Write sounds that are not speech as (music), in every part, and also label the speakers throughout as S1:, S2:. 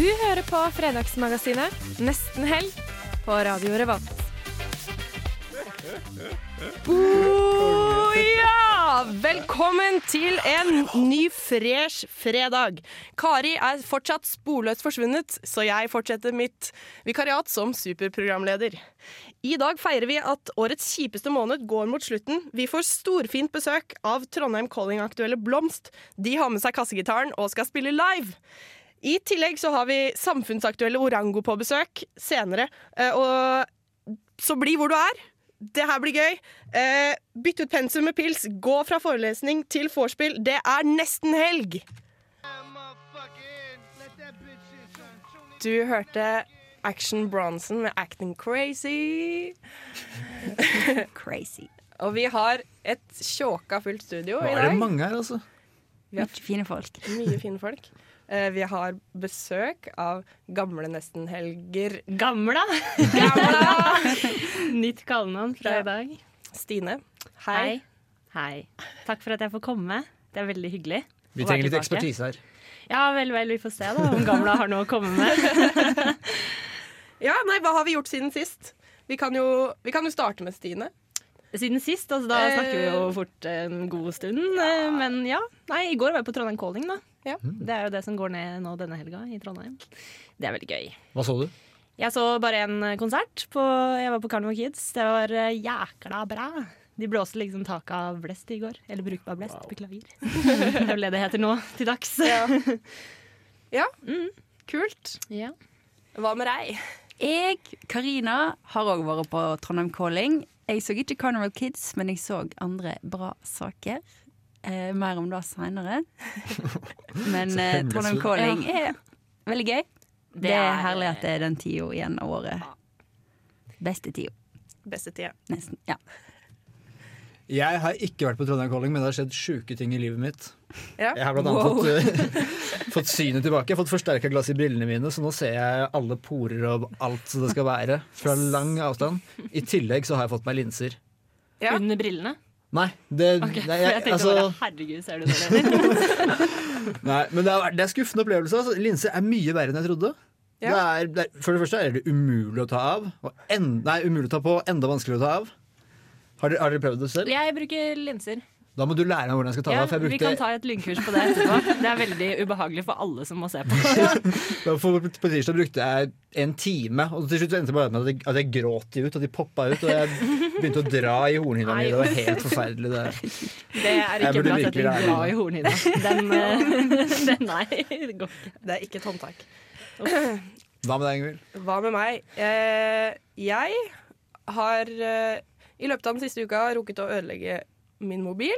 S1: Du hører på Fredagsmagasinet Nesten helg på Radio Revolt.
S2: Ja! Velkommen til en ny, fresh fredag. Kari er fortsatt sporløst forsvunnet, så jeg fortsetter mitt vikariat som superprogramleder. I dag feirer vi at årets kjipeste måned går mot slutten. Vi får storfint besøk av Trondheim Calling-aktuelle Blomst. De har med seg kassegitaren og skal spille live. I tillegg så har vi samfunnsaktuelle Orango på besøk senere. eh, Og så bli hvor du er. Det her blir gøy. Eh, bytt ut pensum med pils. Gå fra forelesning til vorspiel. Det er nesten helg. Du hørte Action Bronson med 'Acting Crazy'.
S3: Crazy.
S2: Og vi har et tjåka fullt studio i
S4: Er det
S2: dag.
S4: mange her, altså?
S2: Ja.
S3: Mye fine folk.
S2: Mye fine folk. Eh, vi har besøk av gamle nesten-helger
S5: Gamla. (laughs) Nytt kallenavn fra
S2: Ja.
S5: i dag.
S2: Stine. Hei.
S5: Hei. Takk for at jeg får komme. Det er veldig hyggelig.
S4: Vi
S5: å være
S4: trenger litt
S5: tilbake.
S4: ekspertise her.
S5: Ja, vel, vel, vi får se da om gamla har noe å
S2: (laughs)
S5: komme med.
S2: Ja, nei, hva har vi gjort siden sist? Vi kan jo, vi kan jo starte med Stine.
S5: Siden sist, altså da snakker vi
S2: Eh.
S5: jo fort en god stund. eh, Men ja. Nei, i går var jeg på Trondheim Calling, da.
S2: Ja.
S5: Det er jo det som går ned nå denne helga i Trondheim. Det er veldig gøy.
S4: Hva så du?
S5: Jeg så bare en konsert. På, jeg var på Carnival Kids. Det var eh, jækla bra. De blåste liksom taket av blest i går. Eller brukbar blest. Beklager. (laughs) det er vel det det heter nå til dags.
S2: Ja, kult.
S5: Ja.
S2: Hva med deg?
S3: Jeg, Karina, har òg vært på Trondheim Calling. Jeg så ikke Carnival Kids, men jeg så andre bra saker. Eh, mer om det seinere. Men eh, Trondheim Calling er veldig gøy. Det, er herlig at det er den tida igjen av året. Beste tida,
S2: Beste tida.
S3: nesten. Ja.
S4: Jeg har ikke vært på Trondheim Calling, men det har skjedd sjuke ting i livet mitt.
S2: Ja.
S4: Jeg har blant annet fått, eh, (laughs) fått synet tilbake. Jeg har fått forsterka glass i brillene mine, så nå ser jeg alle porer og alt som det skal være, fra lang avstand. I tillegg så har jeg fått meg linser.
S2: Ja.
S5: Under brillene.
S4: Nei, det,
S5: Ok,
S4: nei,
S5: for jeg
S4: jeg,
S5: tenkte
S4: altså,
S5: bare herregud, ser du det?
S2: (laughs)
S5: eller?
S4: nei men det er, det er skuffende opplevelse. Altså. Linser er mye verre enn jeg trodde. Det
S2: Ja.
S4: er, det er, for det første er det umulig å ta av. Og en, nei, umulig å ta på, enda vanskeligere å ta av. Har dere, har dere prøvd det selv?
S5: Jeg bruker linser.
S4: Da må du lære meg hvordan jeg skal ta det
S5: Ja,
S4: av. For
S5: vi
S4: jeg
S5: kan
S4: brukte,
S5: ta et lynkurs på det etterpå. Det er veldig ubehagelig for alle som må se på.
S4: (laughs) for på tirsdag brukte jeg en time, og til slutt endte det bare med at jeg, at jeg gråt de ut, og de poppa ut. Og jeg begynte å dra i hornhinna mi. Det var helt forferdelig. Det.
S5: Det er
S4: Jeg
S5: ikke
S4: burde
S5: bra
S4: virkelig
S5: setting.
S4: lære
S5: Dra
S4: det.
S5: i hornhinna.
S2: (laughs)
S5: Den, eh, (laughs) den Nei, det går ikke.
S2: Det er ikke et håndtak.
S4: Hva med deg, Ingvild?
S2: Hva med meg? Eh, jeg har eh, i løpet av den siste uka rukket å ødelegge min mobil.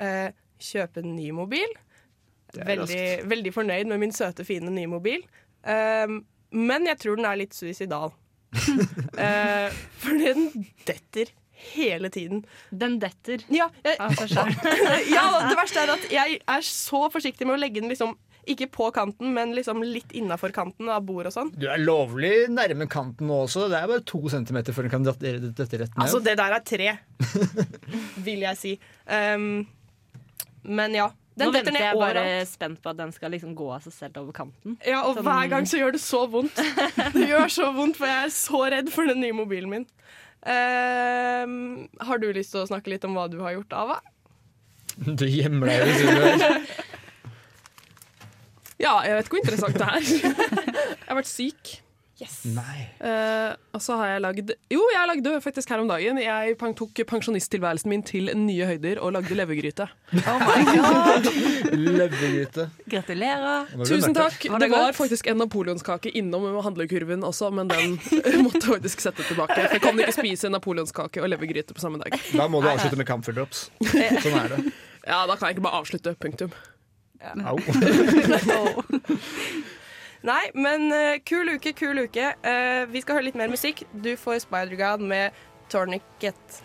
S2: Eh, kjøpe en ny mobil. Veldig, veldig fornøyd med min søte, fine nye mobil. Eh, men jeg tror den er litt suicidal. eh, fordi den detter hele tiden.
S5: Den detter.
S2: Ja, jeg,
S5: av seg selv.
S2: ja, og det verste er at jeg er så forsiktig med å legge den liksom ikke på kanten, men liksom litt innafor kanten av bord og sånn.
S4: Du er lovlig nærme kanten nå også. Det er bare to centimeter før du kan dette dette rett ned.
S2: Altså, det der er
S6: (laughs)
S2: tre, vil jeg si. Um, men ja. Den
S5: Nå
S2: detter
S5: venter
S2: ned
S5: jeg bare
S2: overalt.
S5: spent på at den skal liksom gå av seg selv over kanten.
S2: Ja, og
S5: sånn-
S2: hver gang så gjør det så
S5: (laughs)
S2: vondt. Det gjør så vondt, for jeg er så redd for den nye mobilen min.
S6: Ehm,
S2: Um, har du lyst til å snakke litt om hva du har gjort, Ava?
S4: Du gjemmer deg. hvis du vil.
S6: Ja, jeg vet ikke hvor interessant
S2: (laughs)
S6: det er. Jeg har vært syk.
S4: Nei.
S6: eh, og så har jeg lagd Jo, jeg lagde faktisk her om dagen. Jeg pan- tok pensjonisttilværelsen min til nye høyder og lagde levergryte.
S4: Levergryte.
S3: Gratulerer.
S4: Nå ble du mørk.
S6: Tusen takk.
S3: Var
S6: Det
S3: det
S6: var
S3: godt?
S6: faktisk en napoleonskake innom handlekurven også, men den (laughs) måtte jeg faktisk sette tilbake. For jeg kan ikke spise napoleonskake og levergryte på samme dag.
S4: Da må du avslutte med camphor drops.
S6: Eh.
S4: Sånn er det.
S6: (laughs) Ja, da kan jeg ikke bare avslutte. Punktum.
S4: Au.
S2: Nei, men eh, kul uke, kul uke. Eh, vi skal høre litt mer musikk. Du får Spider-God med Tourniquet.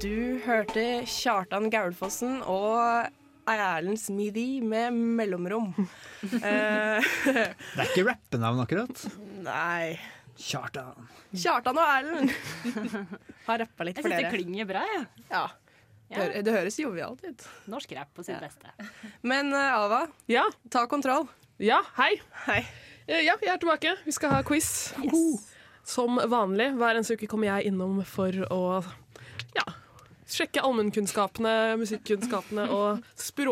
S2: Du hørte Kjartan Gaulfossen og Erlend Smidi med mellomrom.
S6: (laughs)
S2: Eh,
S4: Det er ikke rappenavn, akkurat.
S2: nei
S4: Kjartan.
S2: Kjartan og Erlend (laughs) har rappa litt
S7: Jeg
S2: for
S7: synes det
S2: dere.
S7: klinger bra, jeg.
S2: Ja. Det, hø- det høres jovialt ut.
S7: Norsk rap på sitt beste.
S2: Men eh, Ava,
S6: Ja,
S2: ta kontroll.
S6: ja, hei.
S2: Hei.
S6: Eh, Ja, jeg er tilbake. Vi skal ha quiz. Ho. Som vanlig. Hver eneste uke kommer jeg innom for å ja, sjekke allmennkunnskapene, musikkunnskapene og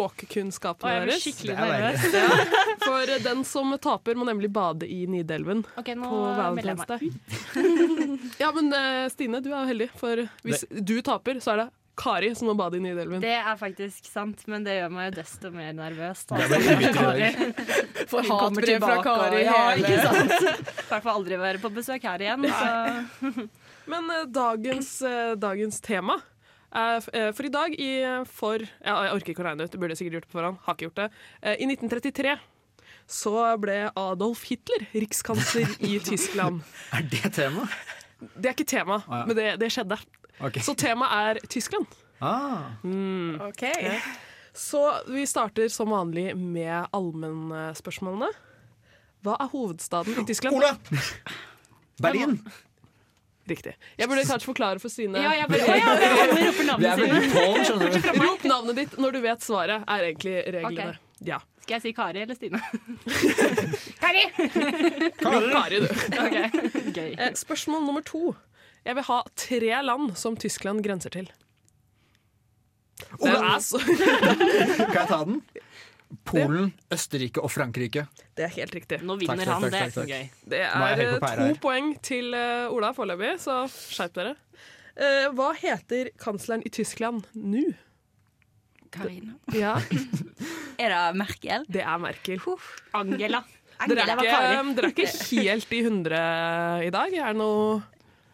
S7: Og
S6: språkkunnskapene
S7: jeg blir
S6: deres.
S4: Det
S7: skikkelig
S4: er
S7: nervøs.
S4: verre.
S6: For eh, den som taper, må nemlig bade i Nidelven
S7: Ok, nå
S6: på
S7: melder jeg
S6: Valentine's
S7: meg.
S6: Day. (laughs) ja, men eh, Stine, du er heldig, for hvis du taper, så er det Kari som må bade i Nidelven.
S7: Det er faktisk sant, men det gjør meg jo desto mer nervøs. da.
S4: Det er veldig viktig i dag.
S7: (laughs)
S6: For
S7: Hun kommer tilbake, og- Ja, ikke sant? (laughs) I hvert fall aldri være på besøk her igjen. Så.
S6: Men eh, dagens, eh, dagens tema er, f- eh, For i dag i eh, for ja, Jeg orker ikke å regne ut, det burde jeg sikkert gjort på forhånd. Har ikke gjort det. Eh, I 1933 så ble Adolf Hitler rikskansler
S4: (laughs)
S6: i Tyskland.
S4: Er det temaet?
S6: Det er ikke tema,
S4: Å, ja.
S6: men det, det skjedde.
S4: Ok.
S6: Så temaet er Tyskland.
S4: Ah,
S7: Mm.
S2: OK.
S6: Så vi starter som vanlig med allmennspørsmålene. Hva er hovedstaden i Tyskland?
S4: Ola! Berlin!
S6: Riktig. Jeg burde kanskje forklare for Stine.
S7: Ja, jeg bare, Å, ja, ja, vi roper
S4: Vi
S7: navnet
S4: er
S7: sine.
S4: veldig tolv, skjønner du.
S6: Rop navnet ditt når du vet svaret, er egentlig reglene. Ja.
S7: Skal jeg si Kari eller
S6: (laughs)
S7: Stine?
S6: Rop Kari, du. (laughs)
S7: Ok, Gøy.
S6: Eh, Spørsmål nummer to. Jeg vil ha tre land som Tyskland grenser til.
S4: Oh.
S6: Det er, så, (laughs)
S4: Kan jeg ta den? Polen, Østerrike og Frankrike.
S6: det er helt riktig.
S7: Nå vinner
S4: Takk,
S7: han,
S4: takk,
S7: det
S4: takk,
S7: er
S4: takk.
S7: gøy.
S6: Det
S4: Nå er
S6: er
S4: jeg helt på
S6: eh,
S4: pæra
S6: to
S4: her.
S6: poeng til eh, Ola foreløpig, så skjerp dere. Eh, hva heter kansleren i Tyskland nå?
S3: Karina.
S6: Ja,
S3: Er det Merkel?
S6: det er Merkel.
S7: Angela.
S6: Dere er,
S7: var Kari.
S6: ikke, eh, dere er ikke helt i hundre i dag. Er det noe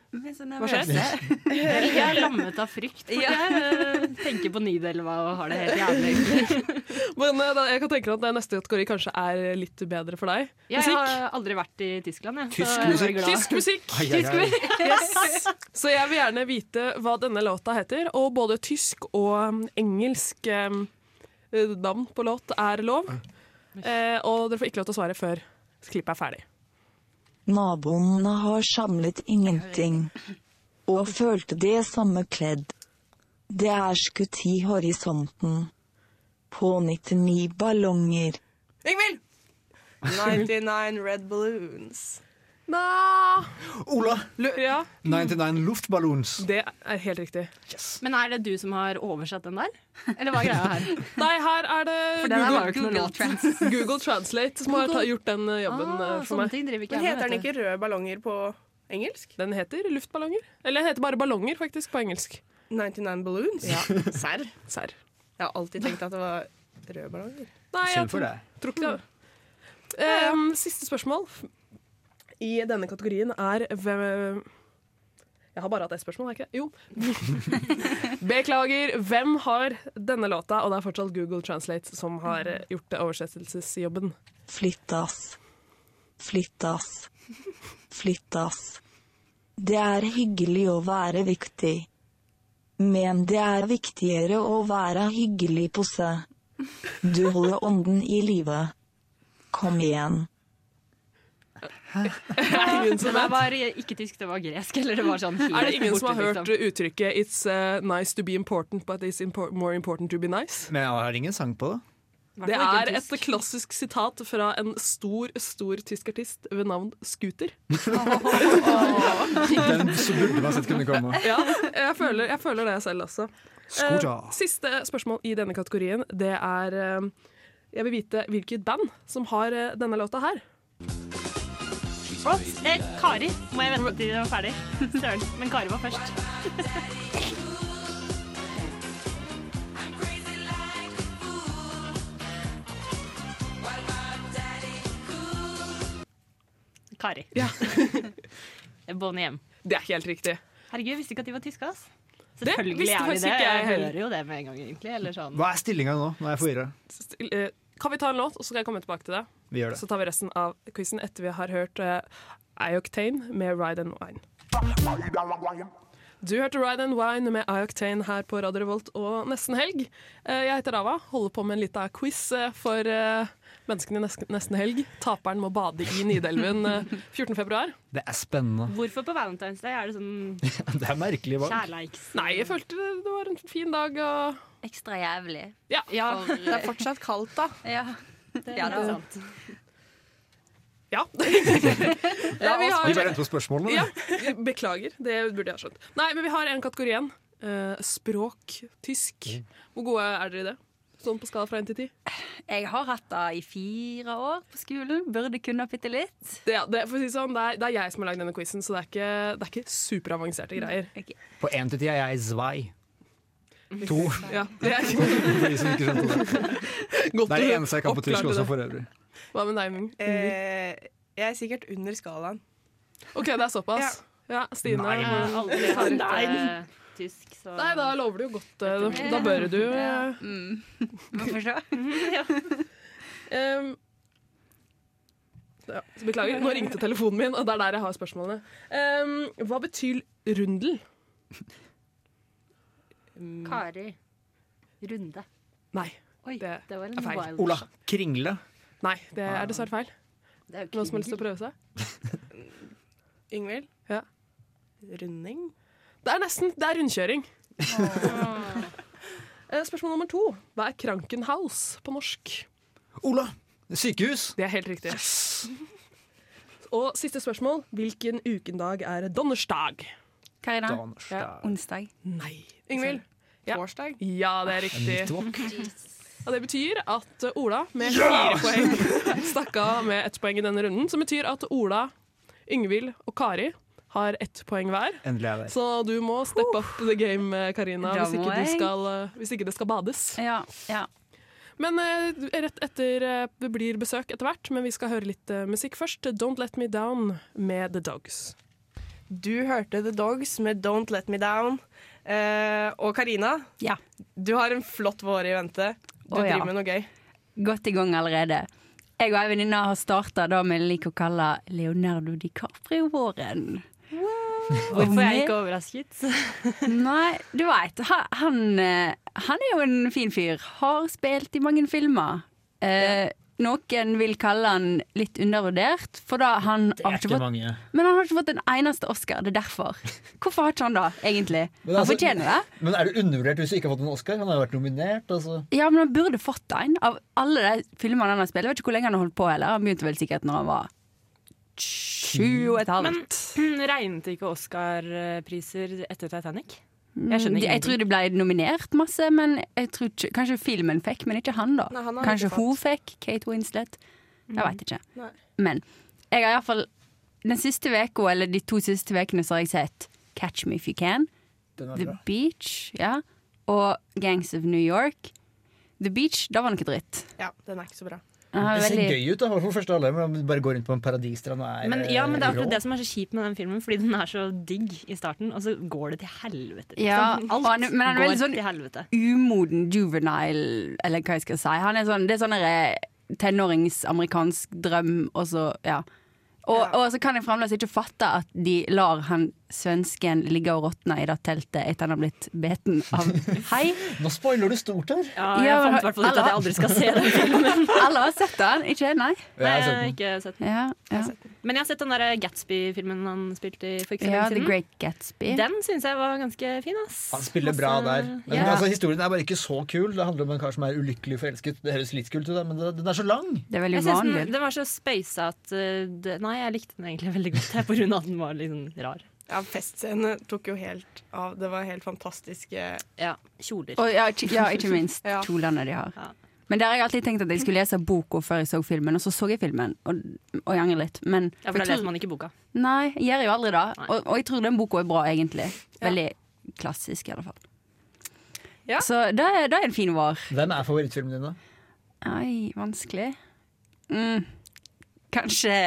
S3: Vi er så
S6: skjer?
S3: nervøse.
S7: Jeg er lammet av frykt. For jeg eh, tenker på Nidelva og har det helt jævlig.
S6: Men eh, da, jeg kan tenke meg at det neste kategori kanskje er litt bedre for deg.
S7: Ja, jeg
S6: Musikk.
S7: har aldri vært i Tyskland, jeg. så
S4: Tysk
S7: jeg er
S4: musikk.
S7: glad.
S6: Tysk musikk.
S4: Ai, ai, ai.
S6: Så jeg vil gjerne vite hva denne låta heter, og både tysk og um, engelsk um, eh, navn på låt er lov. Eh, og dere får ikke lov til å svare før klippet er ferdig.
S8: Naboene har samlet ingenting. Og følte det samme kledd. Det er skutt i horisonten. På 99 ballonger.
S2: Ingvild! 99 Red Balloons. (laughs)
S6: Nå.
S4: Ola!
S6: Ja,
S4: 99 Luftballons.
S6: det er helt riktig.
S7: Men er det du som har oversatt den der? Eller hva er greia
S6: (laughs)
S7: her?
S6: Nei, her er det
S7: den her
S6: Google,
S7: var jo ikke noe
S3: Google
S7: låt.
S3: Trends.
S6: Google Translate som har ta, gjort den eh, jobben eh,
S7: Ah,
S6: for
S5: sånn.
S7: sånne
S6: meg.
S7: ting driver ikke
S2: Men
S7: jeg med,
S2: heter den
S7: vet du.
S2: ikke Røde ballonger på engelsk?
S6: Den heter luftballonger. Eller den heter bare ballonger, faktisk, på engelsk.
S2: 99 Balloons? (laughs) Serr?
S6: Serr.
S2: Jeg har alltid tenkt at det var røde (laughs) ballonger.
S6: Nei, jeg
S4: Synd for
S6: tror,
S4: deg.
S6: tror ikke det. Em, ehm, siste spørsmål i denne kategorien er hvem Jeg har bare hatt ett spørsmål, har jeg ikke? det? Jo. (laughs) Beklager. Hvem har denne låta? Og det er fortsatt Google Translate som har eh, gjort det oversettelsesjobben.
S8: Flyttas. Flyttas. Flyttas. Det er hyggelig å være viktig. Men det er viktigere å være hyggelig på seg. Du holder ånden i live. Kom igjen.
S6: Ingen som
S7: Den her
S6: vet.
S7: var ikke tysk, det var gresk. Eller det var sånn helt
S6: Er det ingen som har
S7: borte,
S6: hørt
S7: liksom.
S6: uttrykket 'It's eh, nice to be important, but it's impor more important to be nice'?
S4: Men jeg har ingen sang på det.
S6: Det
S7: Hvertfall ikke
S6: er
S7: tysk.
S6: et klassisk sitat fra en stor, stor tysk artist ved navn Scooter.
S4: Den så burde man sett kunne
S6: (laughs)
S4: komme.
S6: Ja, jeg føler, jeg føler det selv også.
S4: Skora.
S6: Eh, siste spørsmål i denne kategorien, det er eh, Jeg vil vite hvilket band som har eh, denne låta her.
S7: Ops, eh, Kari. Må jeg vente til den var ferdig? Søren. Men Kari var først. (laughs) Kari. (laughs)
S6: Ja.
S7: Bånd hjem.
S6: Det er ikke helt riktig.
S7: Herregud, jeg visste ikke at de var tyske, ass.
S6: Det
S7: Selvfølgelig
S6: visste
S7: er de
S6: faktisk
S7: det.
S6: ikke jeg
S7: Jeg
S6: heller.
S7: hører jo det med en gang, egentlig. Eller sånn.
S4: Hva er stillinga nå? Nå er jeg forvirra.
S6: Still- eh, Kan vi ta en låt, og så skal jeg komme tilbake til det?
S4: Vi gjør det.
S6: Så tar vi resten av quizen etter vi har hørt uh, Ioctane med Ride and Wine. Du hørte Ride and Wine med Ioctane her på Radio Revolt og Nesten Helg. Eh, Jeg heter Ava, holder på med en liten quiz eh, for eh, menneskene i nesten, nesten helg. Taperen må bade i Nidelven eh, 14. februar.
S4: Det er spennende.
S7: Hvorfor på Valentine's Day er det sånn
S4: Det er merkelig valg.
S7: kjærleiks...
S6: Nei, jeg følte det, det var en fin dag å
S3: (laughs) Ekstra jævlig.
S6: ja.
S2: Ja,
S3: For,
S2: det er fortsatt kaldt, da.
S3: Ja. Ja, det er sant.
S6: Ja.
S2: La
S6: vi
S2: oss-
S6: har-
S4: Vi bare venter på spørsmålene.
S6: Ja, (laughs) beklager. Det burde jeg ha skjønt. Nei, men vi har en kategori igjen. Eh, språk. Tysk.
S4: Mm.
S6: Hvor gode er dere i det? Sånn på skala fra 1 til 10?
S3: Jeg har hatt det i fire år på skolen. Burde kunne bitte litt.
S6: Det, ja, det, for å si det sånn, det, er, det er jeg som har lagd denne quizen, så det er ikke, det er ikke superavanserte greier.
S3: Ok.
S4: På én til ti er jeg zvei.
S6: Mm.
S4: To,
S6: Ja, det er
S4: for de som ikke skjønte det. (laughs)
S6: godt
S4: Det er
S6: du
S4: det eneste jeg kan på
S6: oppklarte
S4: tysk også,
S6: det.
S4: for øvrig.
S6: Hva med deg, Ming?
S2: Eh, jeg er sikkert under skalaen.
S6: OK, det er såpass. Ja, Stine.
S4: Nei.
S7: Jeg har aldri hatt eh, tysk, så
S6: Nei, da lover du jo godt. eh, Da bør du eh,
S3: Mm. Vi får se.
S6: Ehm, ja, så beklager, nå ringte telefonen min, og det er der jeg har spørsmålene. Ehm, hva betyr rundel?
S7: Kari.
S3: Runde.
S6: Nei.
S3: Oi,
S6: Det
S3: det var en
S6: er feil.
S3: wild
S4: Ola, kringle.
S6: Nei, det er dessverre feil.
S3: Det er jo
S6: Noen som har lyst til å
S3: kringel.
S6: prøve seg?
S2: Yngvild?
S6: Ja.
S2: Runding?
S6: Det er nesten. Det er rundkjøring. (laughs) Eh, Spørsmål nummer to. Hva er Krankenhaus på norsk?
S4: Ola, sykehus.
S6: Det er helt riktig. Og siste spørsmål. Hvilken ukendag er donnersdag?
S3: Karina.
S4: Danersdag.
S3: Onsdag.
S6: Nei. Yngvild? Ja.
S2: Torsdag?
S6: Ja, det er riktig.
S4: Midtwalk.
S6: Og det betyr at uh, Ola med fire poeng (laughs) stakk av med ett poeng i denne runden. Som betyr at Ola, Yngvild og Kari har ett poeng hver.
S4: Endelig er jeg der.
S6: Så du må step up the game, eh, Karina,
S3: Da
S6: hvis ikke,
S3: må
S6: du
S3: jeg.
S6: skal, eh, hvis ikke det skal bades.
S3: Ja, ja.
S6: Men eh, rett etter eh, det blir besøk etter hvert, men vi skal høre litt eh, musikk først. Don't Let Me Down med The Dogs.
S2: Du hørte The Dogs med Don't Let Me Down. Eh, og Karina,
S3: ja.
S2: du har en flott vår i vente. Du
S3: Å, ja.
S2: driver med noe gøy.
S3: Godt i gang allerede. Jeg og ei venninne har starta det vi liker å kalle Leonardo DiCaprio-våren.
S7: Hvorfor er jeg ikke overrasket?
S3: Nei, du veit. Han, eh, han er jo en fin fyr. Har spilt i mange filmer. Eh, Noen vil kalle han litt undervurdert, for da han har ikke fått,
S4: mange.
S3: men han har ikke fått en eneste Oscar. Det er derfor. Hvorfor har ikke han det, egentlig?
S4: Men
S3: Han
S4: altså-
S3: fortjener det.
S4: Men er du undervurdert hvis du ikke har fått en Oscar? Han har jo vært nominert. altså.
S3: Ja, men han burde fått en av alle de filmene han har spilt. Jeg vet ikke hvor lenge han har holdt på heller. Han begynte vel sikkert når han var sju og et halvt.
S7: Men (laughs) regnet ikke Oscar-priser etter Titanic? Mm, Jeg skjønner
S3: Mm, De- Jeg tror
S7: ingenting.
S3: de ble nominert masse, men jeg tror ikke, kanskje filmen fikk, men ikke han, da.
S2: Nei, han har
S3: kanskje
S2: ikke
S3: hun fikk, Kate Winslet. Jeg veit ikke.
S2: Nei.
S3: Men jeg har iallfall den siste veka, eller de to siste ukene, så har jeg sett Catch Me If You Can,
S4: Den er
S3: The
S4: bra.
S3: Beach ja, og Gangs of New York. The Beach, da var noe dritt.
S2: Ja, den er ikke så bra.
S3: Den var
S4: Det ser
S3: veldig-
S4: gøy ut, da. For første halvdel, men bare går rundt på en paradisstrand og er eh,
S7: Men, ja, men det er akkurat
S4: rå.
S7: det som er så kjipt med den filmen, fordi den er så digg i starten, og så går det til helvete. liksom.
S3: Ja, og
S7: Alt
S3: han er- men han er
S7: går
S3: veldig sånn-
S7: til helvete.
S3: umoden juvenile, eller hva jeg skal si. Han er sånn, det er sånn derre tenårings-amerikansk drøm, og så ja. Og,
S2: Ja.
S3: og så kan jeg fremdeles ikke fatte at de lar han svensken ligge og råtne i det teltet etter han har blitt beten av
S7: (laughs)
S3: hei.
S4: Nå spoiler du stort her.
S7: Ja, jeg
S3: Ja, men-
S7: fant i hvert fall ut at jeg aldri skal se den (laughs) filmen.
S3: Alle har sett han, ikke jeg? Nei.
S7: Nei,
S4: Jeg har
S7: jeg
S4: sett
S7: har
S4: den.
S7: ikke sett den.
S3: Ja, ja.
S7: Men jeg har sett den der Gatsby-filmen han spilte i for ikke så
S3: ja The
S7: lenge siden.
S3: Great Gatsby.
S7: Den syns jeg var ganske fin, ass.
S4: Han spiller bra
S7: Altså,
S4: der. Men
S3: ja.
S4: altså, historien er bare ikke så kul. Det handler om en kar som er ulykkelig forelsket. Det høres litt kult ut, da, men det- den er så lang.
S3: Det er veldig
S7: Jeg synes den,
S3: vanlig.
S7: den var så spøysa at eh, det, Nei, jeg likte den egentlig veldig godt. Det er på grunn av at den var liksom rar.
S2: Ja, Festscenene tok jo helt av. Det var helt fantastiske
S7: Ja, Kjoler.
S3: Og ja, ikke-
S7: (laughs)
S3: ja, ikke minst
S2: Ja.
S3: kjolene de har.
S7: Ja.
S3: Men der har jeg alltid tenkt at jeg skulle lese boka før jeg så filmen, og så så jeg filmen, og, og jeg angrer litt. Men
S7: Ja, for da
S3: for jeg tror-
S7: leser man ikke boka.
S3: Nei, jeg gjør jo aldri det.
S7: Nei.
S3: Og, og jeg tror den boka er bra, egentlig. Veldig klassisk, i alle fall.
S2: Ja.
S3: Så det er, det er en fin vår.
S4: Hvem er favorittfilmen din, da?
S3: Ai, vanskelig. Mm. Kanskje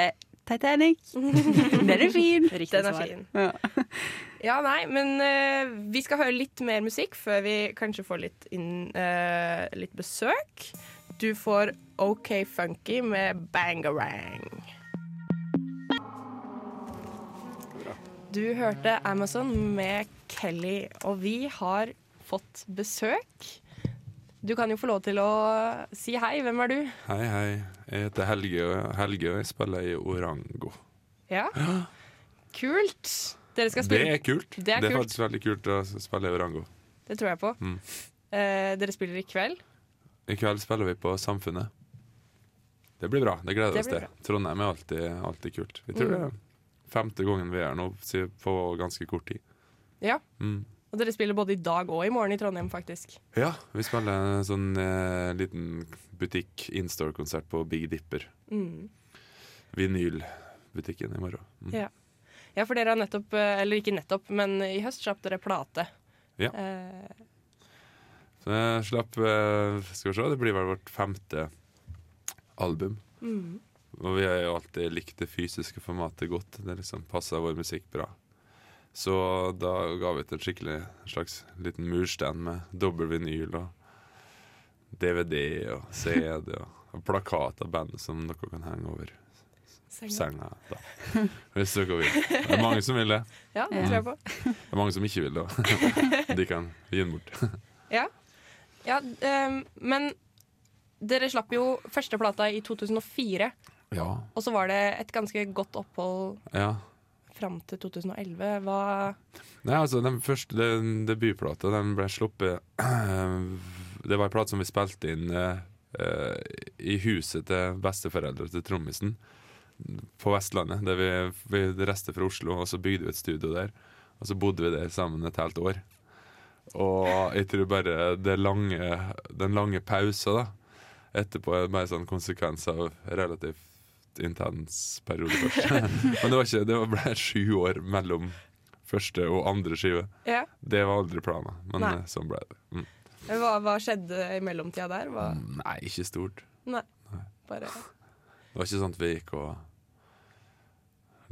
S3: Titanic? (laughs) den er fin.
S7: Riktig
S2: Den er
S7: svar.
S2: fin.
S3: Ja.
S2: (laughs) Ja, nei, men eh, vi skal høre litt mer musikk før vi kanskje får litt, inn, eh, litt besøk. Du får OK Funky med Bangarang. Du hørte Amazon med Kelly, og vi har fått besøk. Du kan jo få lov til å si hei. Hvem er du?
S9: Hei, hei. Jeg heter Helge, Helge og jeg spiller i Orango.
S2: Ja. Kult. Dere skal
S9: Det
S2: spille
S9: er kult.
S2: Det er kult.
S9: faktisk veldig kult å spille i Orango.
S2: Det tror jeg på.
S9: Mm.
S2: Eh, dere spiller i kveld.
S9: I kveld spiller vi på Samfunnet. Det blir bra. Det gleder
S2: Det
S9: vi oss
S2: blir
S9: til. Trondheim er alltid, alltid kult. Vi tror
S2: Mm.
S9: det er femte gangen vi er her nå si- på ganske kort tid.
S2: Ja.
S9: Mm.
S2: Og dere spiller både i dag og i morgen i Trondheim, faktisk.
S9: Ja, vi spiller en sånn eh, liten butikk instore-konsert på Big Dipper.
S2: Mm.
S9: Vinylbutikken i morgen. Mm.
S2: Ja. ja, for dere har nettopp, eh, eller ikke nettopp, men i høst slapp dere plate.
S9: Ja.
S2: Eh,
S9: Så jeg slapp eh, Skal vi se, det blir vel vårt femte album.
S2: Mhm.
S9: Og vi har jo alltid likt det fysiske formatet godt. Det liksom passer vår musikk bra. Så da ga vi ut en skikkelig slags liten murstein med dobbel vinyl og DVD og CD og, og plakat av bandet som dere kan henge over
S2: Senga.
S9: senga. da. Hvis dere vil. Det er mange som vil det.
S2: ja, det tror jeg på.
S9: Det er mange som ikke vil det. også. De kan gi den bort.
S2: Ja, ja ehm, men dere slapp jo første plata i 2004,
S9: Ja.
S2: og så var det et ganske godt opphold
S9: ja.
S2: fram til 2011. Hva
S9: Nei, altså, den første den debutplata den ble sluppet (clears throat) Det var en plate som vi spilte inn eh, eh, i huset til besteforeldre til trommisen på Vestlandet. Der vi, vi reiste fra Oslo, og så bygde vi et studio der. Og så bodde vi der sammen et helt år. Og jeg tror bare det lange, den lange pausa da etterpå er mer sånn konsekvens av relativt intens periode først. (laughs) Men det var ikke, det var- ble sju år mellom første og andre skive.
S2: Ja.
S9: Det var aldri planen, men
S2: Nei.
S9: eh, sånn ble det. Mm.
S2: Hva, hva skjedde i mellomtida der? Hva?
S9: Nei, ikke stort.
S2: Nei. Bare
S9: Det var ikke sånn at vi gikk og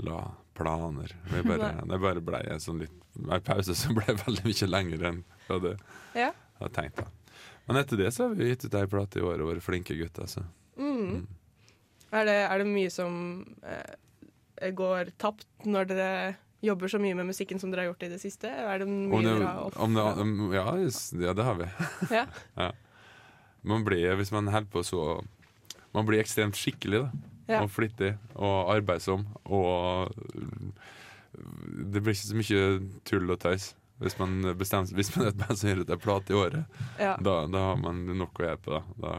S9: la planer.
S2: (laughs)
S9: Vi bare,
S2: Nei.
S9: det bare ble en sånn litt en pause som ble veldig mye lengre enn vi hadde,
S2: Ja.
S9: hadde tenkt. Da. Men etter det så har vi gitt ut ei plate i år og vært flinke gutter. Så.
S2: mm. er, det, er det mye som eh, går tapt når dere jobber så mye med musikken som dere har gjort i det siste? Er det mye
S9: Om det,
S2: dere har off-
S9: om det, om, ja, just- ja, det har vi.
S2: (laughs) Ja.
S9: Ja. Man blir, hvis man holder på så Man blir ekstremt skikkelig, da.
S2: Ja.
S9: Og flittig og arbeidsom. Og øh, det blir ikke så mye tull og tøys. Hvis man, bestemmer, hvis man er et band som gir ut en plate i året,
S2: Ja.
S9: da, da har man nok å gjøre på. Da.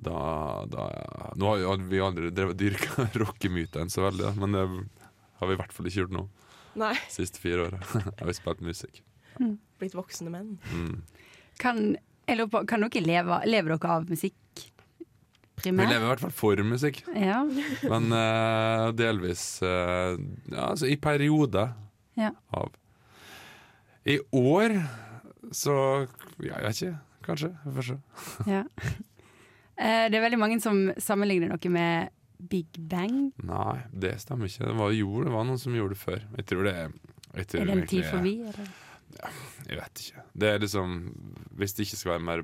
S9: Da, da, da Nå har jo aldri- vi aldri drevet dyrka (laughs) rockemyten så veldig, da, men det har vi i hvert fall ikke gjort nå.
S2: Nei.
S9: Siste fire (laughs) åra har vi spilt musikk.
S2: Blitt voksne menn.
S9: Mm.
S3: Kan, jeg lurer på, kan dere leve, lever dere av musikk
S9: Vi
S3: primært?
S9: lever i hvert fall for musikk.
S3: Ja.
S9: Men eh, delvis eh, ja, altså i perioder
S3: Ja.
S9: av I år så ja, Jeg vet ikke. Kanskje. Vi får se.
S3: ja. Eh, Det er veldig mange som sammenligner dere med Big Bang.
S9: Nei, det stemmer ikke. Det var, jo, det var noen som gjorde det før. Jeg tror det jeg tror
S3: Er den tid
S9: egentlig-
S3: forbi? Eller?
S9: Jeg vet ikke. Det er liksom Hvis det ikke skal være mer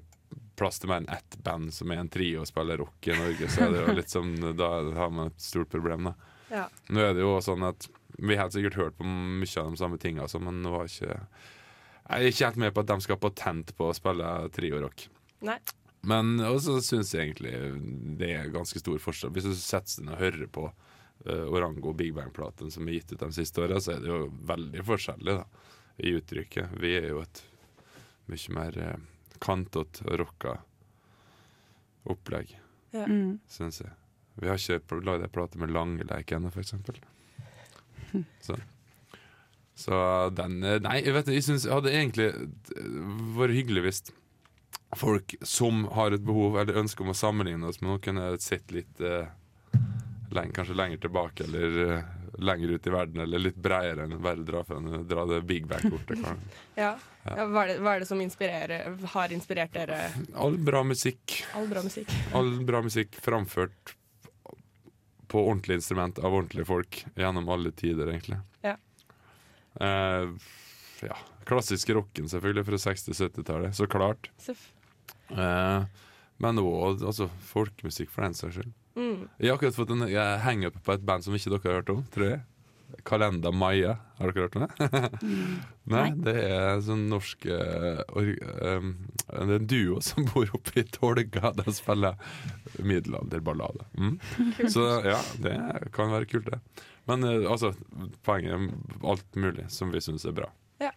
S9: plass til mer enn ett band som er en trio og spiller rock i Norge, så er det jo litt som Da har man et stort problem, da.
S2: Ja.
S9: Nå er det jo sånn at vi har sikkert hørt på mye av de samme tingene, altså, men det var ikke Jeg er ikke helt med på at de skal ha patent på å spille trio-rock.
S2: Nei.
S9: Men også syns jeg egentlig det er ganske stor forskjell. Hvis du setter deg ned og hører på eh, Orango og Big Bang-platen som er gitt ut de siste åra, så er det jo veldig forskjellig da, i uttrykket. Vi er jo et mye mer uh, kantet og rocka opplegg,
S2: Ja.
S3: Mm.
S9: syns jeg. Vi har ikke lagd ei plate med langleik ennå, for eksempel. Så. Så den eh, Nei, jeg vet ikke, jeg syns det hadde egentlig eh, vært hyggelig hvis folk som har et behov eller ønske om å sammenligne oss med noen, kunne sett litt eh, leng, Kanskje lenger tilbake eller eh, lenger ut i verden, eller litt bredere enn bare dra, fra, dra det big back-kortet. kan-
S2: Ja. Ja, hva, er det, hva er det som inspirerer, har inspirert dere?
S9: All bra musikk.
S2: All bra musikk.
S9: All bra musikk framført på ordentlig instrument av ordentlige folk gjennom alle tider, egentlig.
S2: Ja.
S9: Eh, ja. Klassisk rocken, selvfølgelig, fra 60-70-tallet. Så klart.
S2: Seff.
S9: Eh, Men òg altså, folkemusikk, for den saks skyld.
S10: Mm.
S9: Jeg har akkurat fått en jeg henger opp på et band som ikke dere har hørt om, tror jeg. Kalenda Maja. Har dere hørt om det? (laughs) Nei, det er sånn norsk eh, or- um, Det er en duo som bor oppe i Tolga. De spiller middelalderballade. Mm.
S10: Kult.
S9: Så ja, det kan være kult, det. Men eh, altså, poenget er alt mulig som vi syns er bra.
S2: Ja,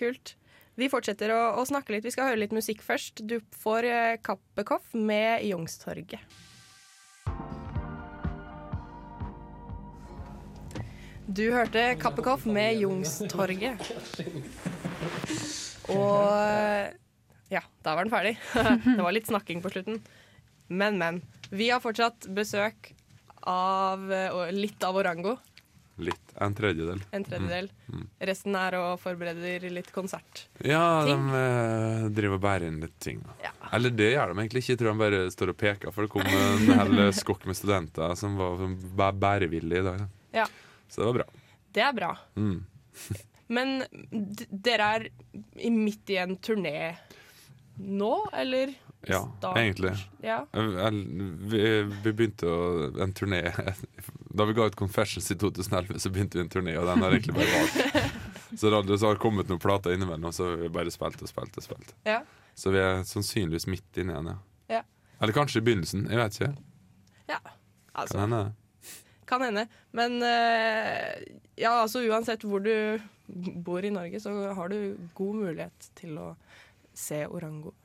S2: kult. Vi fortsetter å, å snakke litt. Vi skal høre litt musikk først. Du får eh, Kappekoff med Youngstorget. Du hørte Kappekoff med Youngstorget. Og eh, ja, da var den ferdig. (laughs) Det var litt snakking på slutten. Men, men. Vi har fortsatt besøk av eh, og litt av Orango.
S9: Litt. En tredjedel.
S2: En tredjedel.
S9: Mm. Mm.
S2: Resten er å forberede litt konsert.
S9: Ja,
S2: ting.
S9: de eh, driver og bærer inn litt ting. Eller det gjør de egentlig ikke. Jeg tror de bare står og peker, for det kom en hel eh, skokk med studenter som var bæ- bærevillige i dag.
S2: Ja,
S9: Så det var bra.
S2: det er bra.
S9: Mm.
S2: Men d dere er i- midt i en turné nå, eller?
S9: Ja,
S2: Start.
S9: egentlig.
S2: Ja.
S9: Vel, Vi, vi begynte å, en turné (laughs) Da vi ga ut 'Confessions' i 2011, så begynte vi en turné, og den har egentlig bare vart. Så det hadde- så har det kommet noen plater innimellom, så har vi bare spilt og spilt og spilt.
S2: Ja.
S9: Så vi er sannsynligvis midt inne igjen, ja.
S2: Ja.
S9: Eller kanskje i begynnelsen. Jeg vet ikke.
S2: ja. Altså,
S9: Kan hende.
S2: kan hende. Men eh, ja, altså uansett hvor du bor i Norge, så har du god mulighet til å se Orango.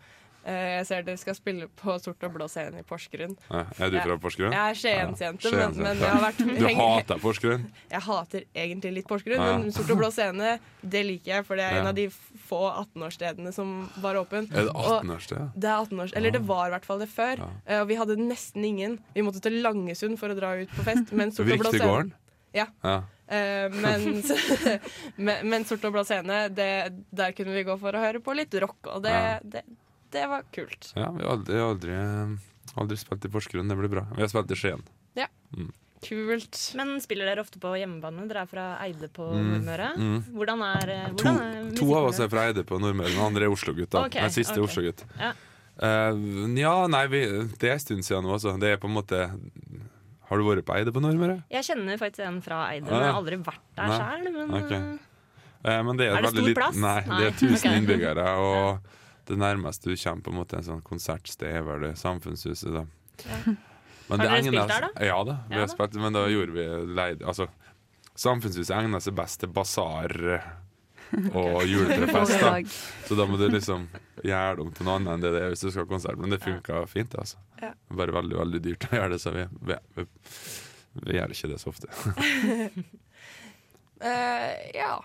S2: Eh, jeg ser dere skal spille på Sort og blå scene i Porsgrunn.
S9: Ja, er du
S2: Jeg-
S9: fra Porsgrunn?
S2: Jeg er Skiensjente,
S9: Ja,
S2: men,
S9: Skiens,
S2: men
S9: ja.
S2: jeg har vært
S9: Du hater Porsgrunn?
S2: (laughs) Jeg hater egentlig litt Porsgrunn,
S9: Ja.
S2: men Sort og blå scene det liker jeg, for det er
S9: Ja.
S2: en av de få 18-årsstedene som var åpen.
S9: Er det
S2: Og
S9: 18-årssted? ja?
S2: Det er 18-års, eller det var i hvert fall det før. eh, Og vi hadde nesten ingen. Vi måtte til Langesund for å dra ut på fest. Men Sort og blå
S9: Vriktegården?
S2: scene Ja.
S9: Ja.
S2: Eh, men, (laughs) men, men Sort og blå scene, det, der kunne vi gå for å høre på litt rock, og det,
S9: Ja.
S2: det, det var kult.
S9: Ja, vi har aldri, aldri, eh, aldri spilt i Porsgrunn. Det blir bra. Vi har spilt i Skien.
S2: Ja.
S9: Mm.
S2: Kult.
S7: Men spiller dere ofte på hjemmebane? Dere er fra Eide på
S9: Mm,
S7: Nordmøre.
S9: mm.
S7: Hvordan er, eh,
S9: To,
S7: hvordan er
S9: to av oss er fra Eide på Nordmøre, den andre er Oslo-gutt. da.
S7: Ok,
S9: den siste
S7: ok.
S9: er Oslo-gutt.
S7: Ja.
S9: Eh, ja, nei, vi, det er en stund siden nå, altså. Det er på en måte Har du vært på Eide på Nordmøre?
S7: Jeg kjenner faktisk en fra Eide,
S9: Ah,
S7: men jeg
S9: ja.
S7: har aldri vært der
S9: Nei.
S7: sjøl. Men
S9: Ok.
S7: eh,
S9: Eh, men det er,
S7: Er det
S9: veldig
S7: stor
S9: liten-
S7: plass?
S9: Nei, det er
S7: Nei,
S9: 1000
S7: ok. (laughs)
S9: innbyggere. Og det nærmeste du kommer på en måte en sånn konsertsted, er vel det samfunnshuset. da.
S7: Har
S9: Men det
S7: dere
S9: egner
S7: spilt der,
S9: seg-
S7: da?
S9: Ja da, vi
S7: Ja da.
S9: har spilt, men da gjorde vi leid, altså, Samfunnshuset egner seg best til basar og juletrefest. Da.
S3: Foredrag.
S9: Så da må du liksom gjøre det om til noe annet enn det det er hvis du skal ha konsert. Men det funka fint. altså.
S2: Ja.
S9: Bare veldig veldig dyrt å gjøre det, så vi, vi, vi, vi gjør ikke det så ofte.
S2: Eh, ja.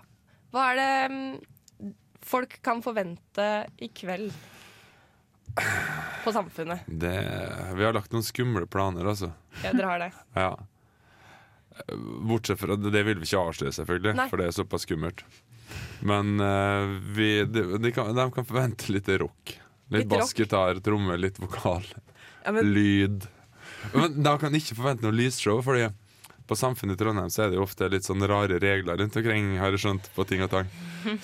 S2: Hva er det mm, folk kan forvente i kveld på Samfunnet?
S9: Det, vi har lagt noen skumle planer, altså.
S2: Ja, dere har det.
S9: Ja. Bortsett fra Det det vil vi ikke avsløre, selvfølgelig,
S2: Nei.
S9: for det er såpass skummelt. Men eh, vi, de, de, kan, de kan forvente litt rock. Litt,
S2: Litt rock?
S9: bassgitar, tromme, litt vokal.
S2: Ja, men-
S9: Lyd. Men de kan ikke forvente noe lysshow, Fordi på Samfunnet i Trondheim Så er det jo ofte litt sånn rare regler rundt omkring, har jeg skjønt, på ting og tang.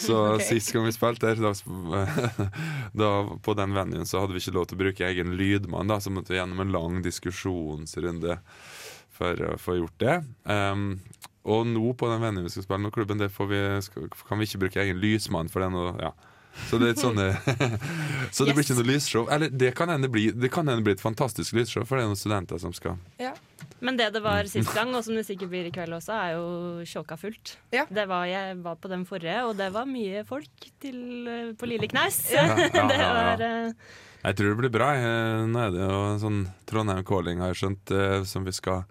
S9: Så
S2: (laughs)
S10: Ok.
S9: sist gang vi spilte her, da, sp- (laughs) da på den venuen, så hadde vi ikke lov til å bruke egen lydmann, da, så måtte vi gjennom en lang diskusjonsrunde for å få gjort det. Ehm, og nå på den venuen vi skal spille nå, klubben, det får vi, skal, kan vi ikke bruke egen lysmann for den. Og, ja. Så det er et sånne Så det blir ikke noe lysshow. Eller det kan hende bli, det kan hende bli et fantastisk lysshow, for det er noen studenter som skal
S7: Men det det var sist gang, og som det sikkert blir i kveld også, er jo sjåka fullt. Det var, jeg var på den forrige, og det var mye folk til, eh, på Lille Knaus.
S9: Ja, ja, ja, ja.
S7: (laughs) Det var eh,
S9: Jeg tror det blir bra. Eh, Nå er det jo en sånn Trondheim Calling, har jeg skjønt, eh, som vi skal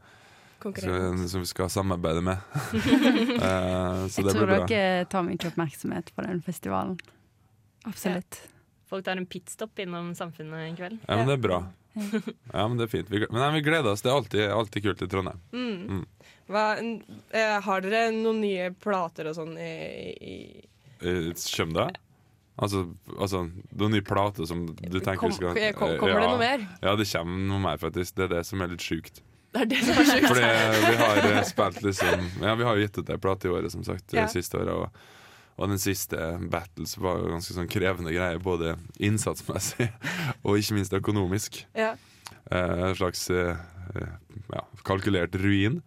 S3: Konkurrent.
S9: som vi skal samarbeide med. Eh, så
S3: Jeg
S9: det blir
S3: tror
S9: bra.
S3: dere tar mye oppmerksomhet på den festivalen. Absolutt.
S7: Folk tar en pitstop innom Samfunnet i kveld.
S9: Ja, men det er bra. Ja, men det er fint. Vi, men nei, vi gleder oss. Det er alltid, alltid kult i Trondheim.
S2: Mm.
S9: Mm.
S2: Hva, n- eh, har dere noen nye plater og sånn i, i
S9: Eh, Kjem det? Altså, altså noen nye plater som du tenker
S2: Kom-
S9: vi skal
S2: kom- kommer det
S9: ja,
S2: noe mer?
S9: Ja, det kommer noe mer, faktisk. Det er det som er litt sjukt.
S2: Det er det som er sjukt.
S9: Fordi vi har eh, spilt liksom Ja, vi har jo gitt ut ei plate i året, som sagt,
S2: Ja.
S9: det siste året. Og, Og den siste, Battles, var jo ganske sånn krevende greie, både innsatsmessig (laughs) og ikke minst økonomisk.
S6: Ja.
S9: Eh, En slags eh, ja, kalkulert
S6: (laughs)
S9: ruin.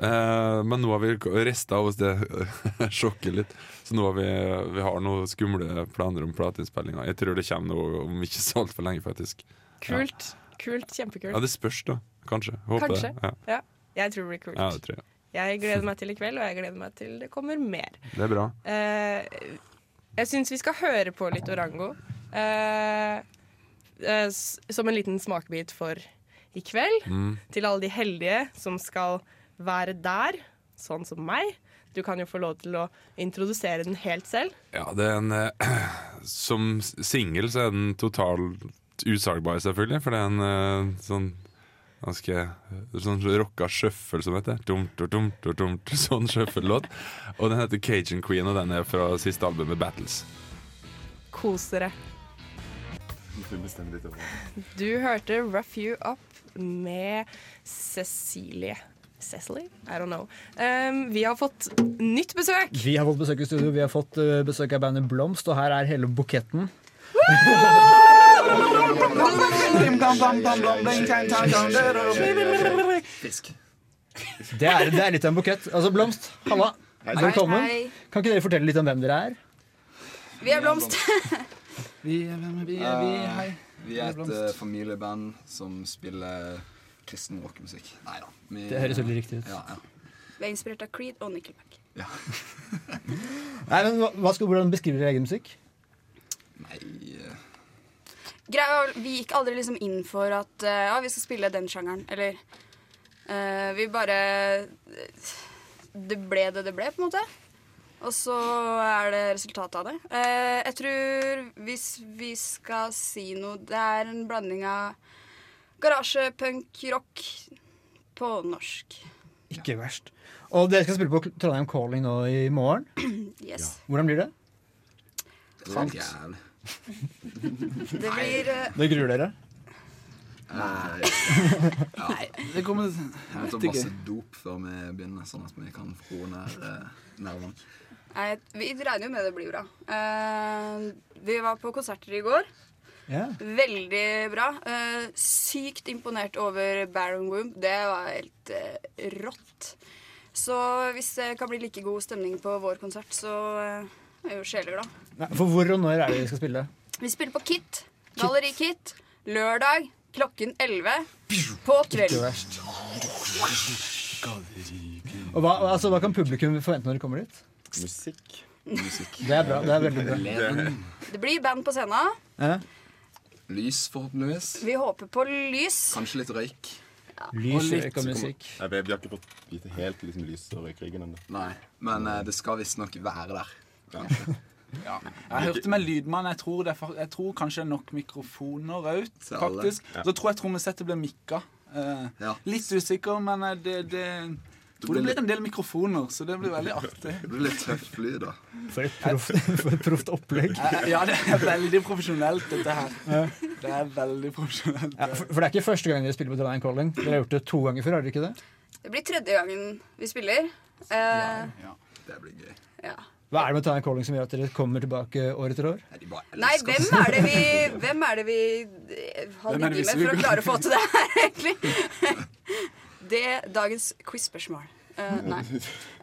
S9: Eh, men nå har vi rista av oss det (laughs) sjokket litt, så nå har vi, vi har noen skumle planer om plateinnspillinga. Jeg tror det kommer noe om ikke så altfor lenge, faktisk.
S6: Kult. Kult, Kjempekult.
S9: Ja, det spørs, da. Kanskje. Håper
S6: Kanskje.
S9: det.
S6: Ja. Jeg tror det blir kult.
S9: Ja, det tror jeg.
S6: Jeg gleder meg til i kveld, og jeg gleder meg til det kommer mer.
S9: Det er bra.
S6: Eh, jeg syns vi skal høre på litt Orango. eh, eh, s- som en liten smakebit for i kveld.
S11: Mm.
S6: Til alle de heldige som skal være der, sånn som meg. Du kan jo få lov til å introdusere den helt selv.
S9: Ja, det er en eh, (clears throat) Som singel så er den totalt usalgbar, selvfølgelig, for det er en eh, sånn ganske sånn rocka sjøffel som heter. Dumt, dumt, dumt, dumt, sånn sjøffellåt. Og den heter Cajun Queen, og den er fra siste albumet Battles.
S6: Kos dere. Du hørte Rough You Up med Cecilie. Cecily? I don't know. Um, vi har fått nytt besøk.
S4: Vi har fått besøk i studio, vi har fått eh, besøk av bandet Blomst, og her er hele buketten.
S12: Fisk.
S4: Det er, det er litt av en bukett. Altså, Blomst, halla.
S12: Hei.
S4: Velkommen.
S12: Hei.
S4: Kan ikke dere fortelle litt om hvem dere er?
S12: Vi er blomst.
S13: Vi, hvem er vi? Vi, hei.
S12: Vi er et eh, familieband som spiller kristen rockemusikk. Nei da. vi-
S4: Det høres veldig riktig ut.
S12: Ja, ja.
S11: Vi er inspirert av Creed og Nickelback.
S4: Nei, men hva, hva skal, Hvordan beskriver dere egen musikk?
S12: eh,
S11: Greia var vel- Vi gikk aldri liksom inn for at eh, ja, vi skal spille den sjangeren, eller eh, Vi bare Det ble det det ble, på en måte. Og så er det resultatet av det. Eh, jeg tror hvis vi skal si noe Det er en blanding av garasje, punk, rock på norsk.
S4: Ikke verst. Og dere skal spille på Kl- Trondheim Calling nå i morgen.
S11: Yes.
S4: Hvordan blir det?
S12: Det er jævlig.
S11: Det blir eh,
S4: Dere gruer dere?
S12: Nei.
S13: Nei, det kommer
S12: Vi må
S13: Jeg
S12: ta
S13: vet ikke.
S12: masse dop før vi begynner, sånn at vi kan roe ned eh, nervene.
S11: eh, Nei, vi regner jo med det blir bra. Eh, vi var på konserter i går.
S4: Ja.
S11: Veldig bra. Eh, sykt imponert over Baron Womb. Det var helt eh, rått. Så hvis det kan bli like god stemning på vår konsert, så eh, er jeg jo sjeleglad.
S4: Nei, for hvor og når er det dere skal spille?
S11: Vi spiller på Kit. Galleri Kit. Lørdag klokken 11 på
S4: Ikke
S11: kvelden.
S4: verst. Og hva, altså, hva kan publikum forvente når de kommer dit?
S12: Musikk.
S4: Det er bra. det er veldig bra.
S12: Leven.
S11: Det blir band på scenen.
S12: Lys, forhåpentligvis.
S11: Vi håper på lys.
S12: Kanskje litt røyk.
S4: Lys, røyk og musikk.
S12: Nei, vi har ikke fått vite helt liksom, lys og røykryggen ennå. Nei, men eh, det skal visstnok være
S13: (laughs)
S12: der.
S13: Ja. Jeg hørte med lydmann. Jeg tror, det er, fa- jeg tror kanskje det er nok mikrofoner ut,
S12: Til alle.
S13: faktisk.
S12: Ja.
S13: Så tror jeg trommesettet blir mikka. Eh, Litt usikker, men eh, det, det jeg tror det
S12: blir
S13: blir en del mikrofoner, så det blir veldig artig.
S12: (laughs) Det blir litt tøft lyd, da.
S4: For et proft, for et proft (laughs) opplegg.
S13: Eh, Ja, det er veldig profesjonelt, dette her. Det er veldig profesjonelt.
S4: Ja, for, for det er ikke første gang dere spiller på Trondheim Calling. Dere har gjort det to ganger før, har dere ikke det?
S11: Det blir tredje gangen vi spiller. Eh,
S12: Det blir gøy.
S11: ja.
S4: Hva er det med Trondheim Calling som gjør at dere kommer tilbake år etter år?
S11: Nei, hvem er det vi, hvem er det vi eh, har
S4: Hvem er det vi
S11: ligget med
S4: suger?
S11: for å klare å få til det her, egentlig?
S4: (laughs)
S11: Det er dagens quiz-spørsmål. Eh, nei.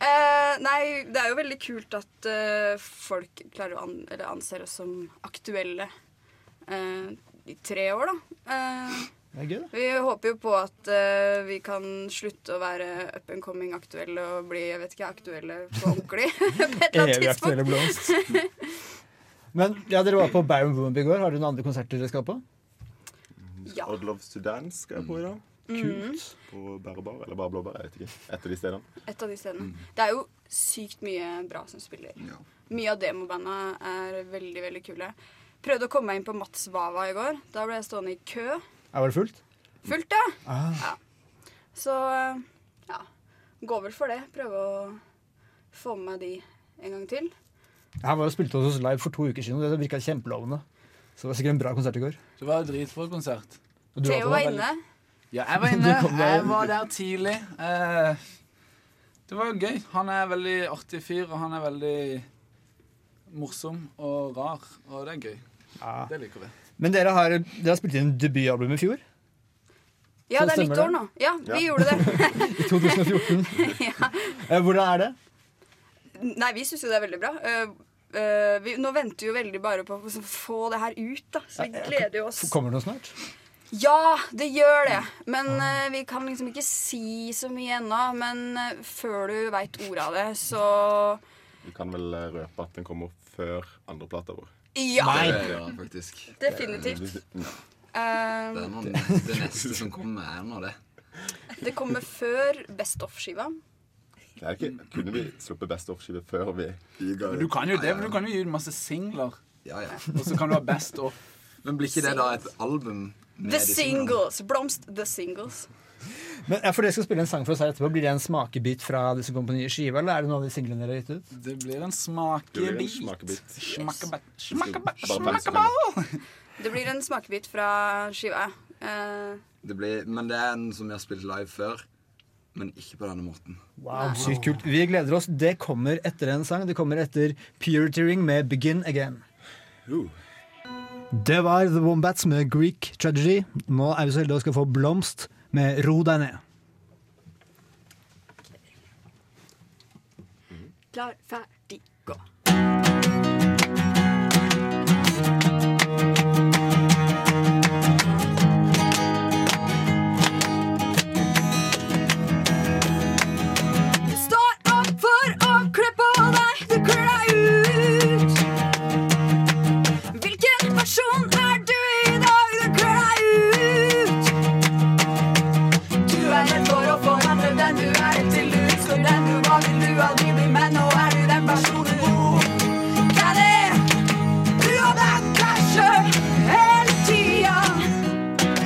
S11: Eh, nei, det er jo veldig kult at eh, folk klarer å an eller anser oss som aktuelle eh, i tre år, da. Eh,
S4: Det er gøy, da.
S11: vi håper jo på at eh, vi kan slutte å være up and coming aktuelle og bli jeg vet ikke, aktuelle på ordentlig. (laughs) på et eller annet
S4: Evig aktuelle
S11: tidspunkt.
S4: blomst.
S11: (laughs)
S4: Men ja, dere var på Baron Womb i går. Har dere noen andre konserter dere skal på?
S11: Ja.
S14: Odd Loves to Dance skal jeg på i dag.
S11: Mm. Kult.
S14: På Bærbar, eller bare Blåbær, jeg vet ikke. Et av de stedene.
S11: Et av de stedene. Det er jo sykt mye bra som spiller. Mye av demobanda er veldig, veldig kule. Prøvde å komme meg inn på Mats Vava i går. Da ble jeg stående i kø.
S4: Er det fullt?
S11: Fullt, ja.
S4: Ah.
S11: Så ja. Går vel for det. Prøve å få med meg de en gang til.
S4: Jeg var og spilte hos oss live for to uker siden, og det virka kjempelovende. Så det var sikkert en bra konsert i går.
S13: Det var jo dritbra konsert.
S4: Og du var
S11: Theo
S4: på
S11: var
S13: (laughs)
S4: den?
S11: inne.
S13: Ja, jeg var inne.
S4: Du kom deg
S13: Jeg
S4: inn.
S13: var der tidlig. Eh, Det var jo gøy. Han er en veldig artig fyr, og han er veldig morsom og rar. Og det er gøy. Det liker vi.
S4: Men dere har, dere har spilt inn debutalbum i fjor?
S11: Ja,
S4: Så
S11: det er
S4: stemmer
S11: nytt år
S4: det.
S11: nå. Ja, vi
S4: Ja.
S11: gjorde det.
S4: I 2014. (laughs) Eh, Hvordan er det?
S11: Nei, vi syns jo det er veldig bra. Eh, eh, vi, nå venter vi jo veldig bare på å liksom få det her ut, da. Så vi gleder jo oss.
S4: Kommer det noe snart?
S11: Ja, det gjør det.
S14: Mm.
S11: Men eh, vi kan liksom ikke si så mye ennå. Men eh, før du veit ordet av det, så
S14: Vi kan vel eh, røpe at den kommer før andre plata vår.
S11: Ja. Nei.
S12: Det gjør han faktisk.
S11: Definitivt. eh,
S12: Det, er noen, det neste som kommer, er nå det.
S11: det kommer før Best Off-skiva.
S14: Det er ikke, kunne vi sluppet Best Off-skive før vi
S12: ga
S13: Men du kan jo det, for du kan jo gi ut masse singler.
S12: Ja, ja.
S13: Og så kan du ha Best Off.
S12: Men blir ikke det da et album? med
S11: The
S12: de singlene?
S11: Singles. Blomst The Singles.
S4: Men, ja, for dere skal spille en sang for oss her etterpå. Blir det en smakebit fra det som kommer på nye skive, eller er det noen av de singlene dere har gitt ut?
S13: Det blir en smakebit.
S4: Det blir en
S14: smakebit.
S13: Smakebit.
S11: Det blir en smakebit fra skiva. Eh,
S12: Det blir, men det er en som vi har spilt live før, men ikke på denne måten.
S4: Wow, Sykt kult. Vi gleder oss. Det kommer etter en sang. Det kommer etter Purity Ring med Begin Again. Det var The Wombats med Greek Tragedy. Nå er vi så heldige å skal få Blomst med Ro deg ned.
S11: Klar, ferdig, gå.
S15: Du står opp for å kle på deg, du kler deg ut. Hvilken person er du i dag, du kler deg ut. Du er redd for å forandre den du er, til du husker den du var, vil du aldri bli, men nå er du den personen du kan det. Du har vært deg sjøl hele tida.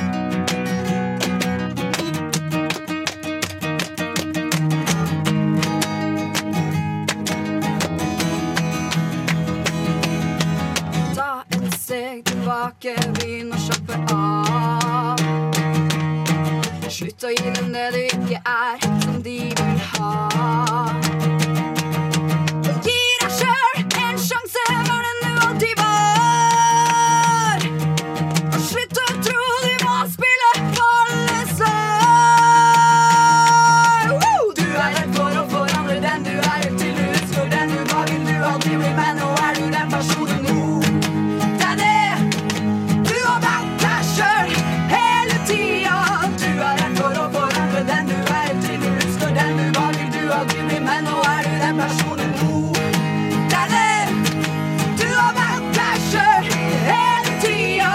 S15: Ta et steg tilbake, begynn å slappe av. Slutt å gi dem det du ikke er, som de vil ha.
S16: Gi deg sjøl en sjanse for den du alltid var. Og slutt å tro du må spille for
S15: Au, au! Du er redd for å forandre den du er, til du husker den du var, vil du alltid bli, men nå er du den personen nå. Det er det. Du har vært deg sjøl hele tida. Du er redd for å forandre den du er, til du husker den du var, vil du alltid bli, men nå er du den personen nå. Det er det. Du har vært deg sjøl hele tida.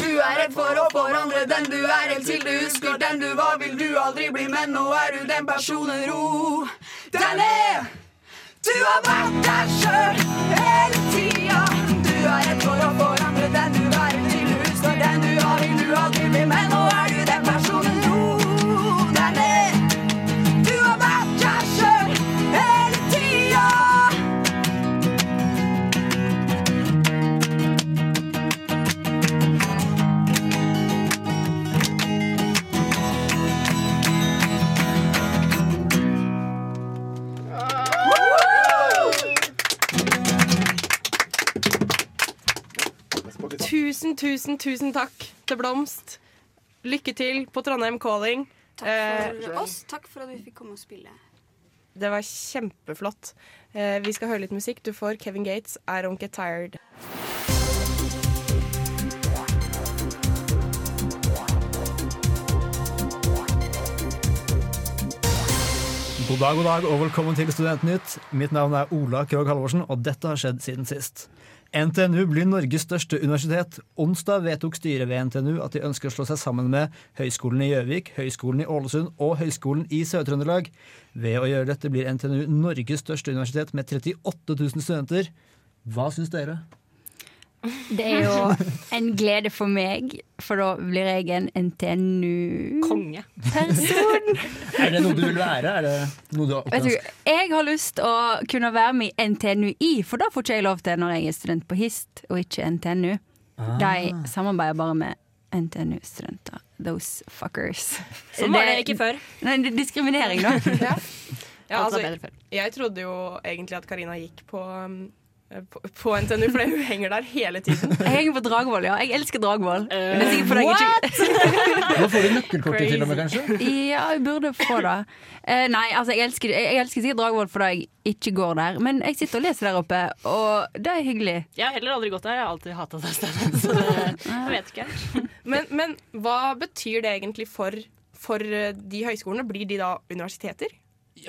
S16: Du er redd for å forandre den du er, helt til du husker den du var, vil du aldri bli, men nå er du den personen ro. Den er
S15: Du har vært deg sjøl hele tida. Du er redd for å forandre den du er, til du husker den du har, vil du aldri bli, men nå er du den personen nå. Den er Du har vært deg sjøl hele tida.
S2: Tusen, tusen, tusen takk til Blomst. Lykke til på Trondheim Calling.
S11: Takk for
S2: Eh,
S11: oss. Takk for at vi fikk komme og spille.
S2: Det var kjempeflott. Eh, vi skal høre litt musikk. Du får Kevin Gates, I Don't Get Tired.
S4: God dag, god dag, og velkommen til Studentnytt. Mitt navn er Ola Krogh Halvorsen, og dette har skjedd siden sist. NTNU blir Norges største universitet. Onsdag vedtok styret ved NTNU at de ønsker å slå seg sammen med Høgskolen i Gjøvik, Høgskolen i Ålesund og Høgskolen i Sør-Trøndelag. Ved å gjøre dette blir NTNU Norges største universitet med 38 000 studenter. Hva syns dere?
S3: Det er jo en glede for meg, for da blir jeg en NTNU-konge.
S4: Er det noe du vil være? Er det noe du har
S3: Vet du,
S4: oppnådd?
S3: jeg har lyst å kunne være med i NTNUI, for da får ikke jeg lov til når jeg er student på HIST og ikke NTNU.
S4: Ah.
S3: De samarbeider bare med NTNU-studenter. Those fuckers.
S7: Sånn var det ikke før.
S3: Nei, det er diskriminering, da.
S2: (laughs) Ja. Ja,
S3: Alt var
S2: altså,
S3: bedre før.
S2: jeg trodde jo egentlig at Karina gikk på, um, på, på NTNU, for hun henger der hele tiden.
S3: Jeg henger på Dragvoll, ja. Jeg elsker Dragvoll. Men det er sikkert
S7: Eh,
S3: fordi jeg ikke-
S4: Nå får du nøkkelkortet til og med, kanskje?
S3: Ja, jeg burde få det. Eh, nei, altså, jeg elsker, jeg elsker sikkert Dragvoll fordi jeg ikke går der, men jeg sitter og leser der oppe, og det er hyggelig.
S7: Jeg har heller aldri gått der, jeg har alltid hata det stedet. Så det, jeg vet ikke.
S2: Men, men hva betyr det egentlig for, for eh, de høyskolene? Blir de da universiteter?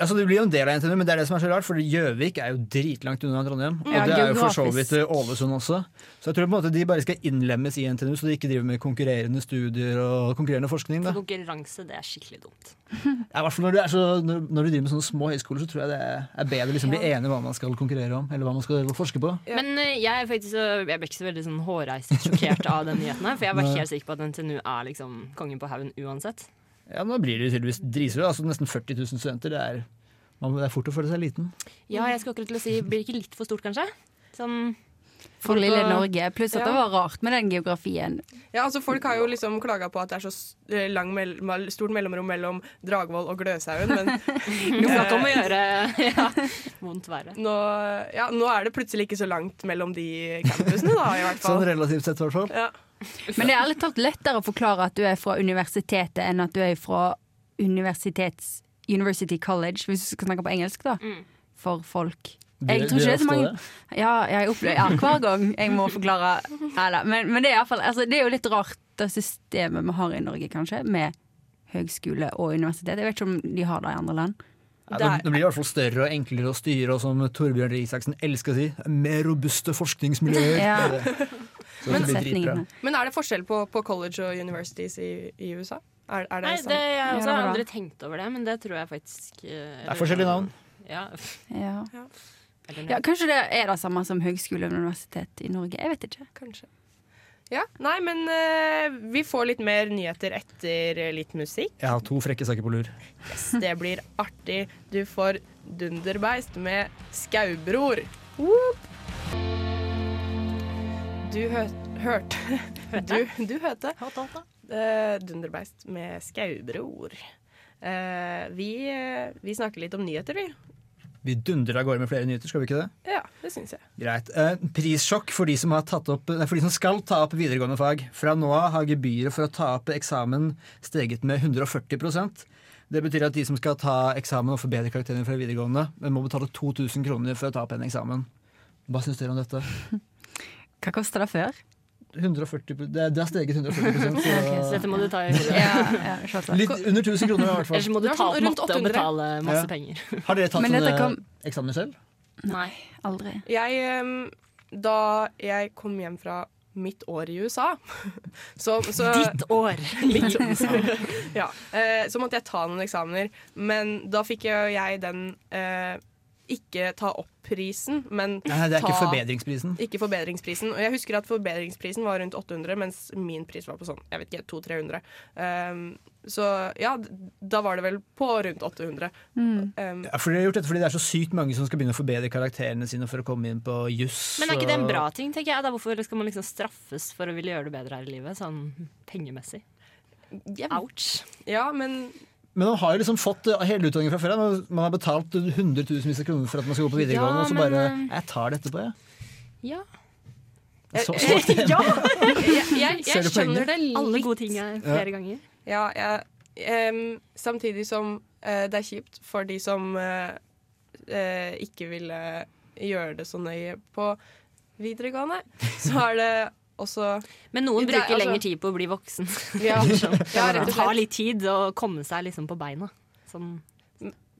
S4: Altså, Du blir jo en del av NTNU, men det er det som er så rart, for Gjøvik er jo dritlangt unna Trondheim.
S3: Mm.
S4: Og
S2: Ja,
S4: det er jo for så
S2: geografisk.
S4: vidt eh, Ålesund også. Så jeg tror på en måte de bare skal innlemmes i NTNU, så de ikke driver med konkurrerende studier og konkurrerende forskning. da.
S7: Konkurranse, det er skikkelig dumt.
S4: Ja, i hvert fall når du, er så, når, når du driver med sånne små høyskoler, så tror jeg det er bedre å liksom bli enig hva man skal konkurrere om, eller hva man skal forske på.
S7: Men eh, jeg, er faktisk, så- jeg ble ikke så veldig sånn hårreist sjokkert av den nyheten her, for jeg var
S4: Nei.
S7: helt sikker på at NTNU er liksom kongen på haugen uansett.
S4: Ja, Nå blir det jo tydeligvis driserød. Altså, nesten 40 000 studenter. Det er, man, det er fort å føle seg liten.
S7: Ja, jeg skal akkurat til å si, blir det ikke litt for stort, kanskje? Sånn
S3: For lille
S7: (laughs)
S3: Norge. Pluss at
S2: Ja.
S3: det var rart med den geografien.
S2: Ja, altså Folk har jo liksom klaga på at det er så s- eh, lang mell mell- stort mellomrom mellom Dragvoll og Gløshaugen, men
S7: Jo, snakk om å gjøre ja, vondt verre.
S2: nå, ja, nå er det plutselig ikke så langt mellom de campusene, da, i hvert fall.
S4: Sånn relativt sett, i hvert fall.
S2: Ja.
S3: Men det er ærlig talt lettere å forklare at du er fra universitetet enn at du er fra universitets University College, hvis du skal snakke på engelsk, da. For folk.
S7: Blir-
S3: Jeg tror ikke
S7: blir
S3: det er så
S7: ofte
S3: mange
S7: det?
S3: Ja, jeg opplever ja, hver gang jeg må forklare Nei da, men, men det er iallfall altså, Det er jo litt rart, det systemet vi har i Norge, kanskje, med høgskole og universitet. Jeg vet ikke om de har det i andre land.
S4: Ja, det, det blir i hvert fall større og enklere å styre, og som Torbjørn Røe Isaksen elsker å si, mer robuste forskningsmiljøer.
S2: Ja.
S4: Så det blir dritbra.
S2: Men er det forskjell på, på college og universities i, i USA? Er, er det
S7: Nei,
S2: sant?
S7: det, jeg har også
S2: Ja,
S7: aldri
S2: bra.
S7: tenkt over det, men det tror jeg faktisk Det
S4: er forskjellige navn.
S7: Ja.
S3: Ja.
S7: Eller nei.
S3: ja, Kanskje det er det samme som høgskole og universitet i Norge. Jeg vet ikke.
S2: Kanskje. Ja, Nei, men eh, vi får litt mer nyheter etter eh, litt musikk.
S7: (laughs)
S4: Jeg har to frekke saker på lur.
S2: Yes, det blir artig. Du får Dunderbeist med Skaubror. Du hø-
S7: (laughs)
S2: hørte Du, du hørte eh, Dunderbeist med Skaubror. Eh, vi, eh, vi snakker litt om nyheter, vi.
S4: Vi dundrer av gårde med flere nyheter, skal vi ikke det?
S2: Ja, det syns jeg.
S4: Greit. Eh, prissjokk for de, som har tatt opp, nei, for de som skal ta opp videregående fag. Fra nå av har gebyret for å ta opp eksamen steget med 140 Det betyr at de som skal ta eksamen og forbedre karakterene fra videregående, må betale 2000 kroner for å ta opp en eksamen. Hva syns dere om dette?
S3: Hva kosta det før?
S4: 140, pro- det, det har steget 140 så,
S7: Ok, så dette må du ta i hodet.
S3: Ja, ja, skjønt det.
S4: Litt under 1000 kroner, i hvert fall.
S7: Ellers må du
S3: Det er
S7: ta opp
S3: sånn
S7: matte
S3: rundt
S7: og
S3: 800.
S7: betale masse
S4: Ja.
S7: penger.
S4: Har dere tatt
S3: Men dette
S4: sånne
S3: kan-
S4: eksamener selv?
S3: Nei, aldri.
S2: Jeg, em, da jeg kom hjem fra mitt år i USA (laughs) så, så,
S7: (laughs) Ditt (laughs) år i
S2: Mitt år.
S7: USA.
S2: ja, eh, så måtte jeg ta noen eksamener. Men da fikk jo jeg den eh, ikke ta opp-prisen, men
S4: Nei, det er ikke
S2: ta
S4: forbedringsprisen.
S2: Ikke forbedringsprisen. Og jeg husker at forbedringsprisen var rundt 800, mens min pris var på sånn, jeg vet ikke, 200-300. Em, så ja, d- da var det vel på rundt 800. Em,
S4: Ja, for dere har gjort dette fordi det er så sykt mange som skal begynne å forbedre karakterene sine for å komme inn på juss.
S7: Men er ikke det en
S4: og-
S7: bra ting, tenker jeg? Da hvorfor skal man liksom straffes for å ville gjøre det bedre her i livet, sånn pengemessig? Ouch.
S2: Ja, men
S4: Men man har jo liksom fått eh, hele utdanningen fra før. ja. Man- Man har betalt hundretusenvis av kroner for at man skal gå på videregående,
S7: Ja,
S4: og så
S7: men,
S4: bare
S7: eh,
S4: Jeg tar det etterpå, jeg.
S7: Ja.
S4: Så, så aktiv.
S2: (laughs)
S7: ja! Jeg, jeg,
S4: Ser
S7: jeg
S4: du poenget?
S7: skjønner det litt.
S2: Alle
S7: gode ting er
S4: flere Ja.
S7: ganger.
S2: Ja, jeg, em, samtidig som eh, det er kjipt for de som eh, eh, ikke ville gjøre det så nøye på videregående, så er det også
S7: Men noen
S2: Det er-
S7: bruker
S2: altså-
S7: lenger tid på å bli
S5: (laughs)
S7: voksen.
S2: Ja.
S7: Sånn.
S2: Ja, rett og
S7: det
S2: slett.
S7: tar litt tid å komme seg liksom på beina. Sånn.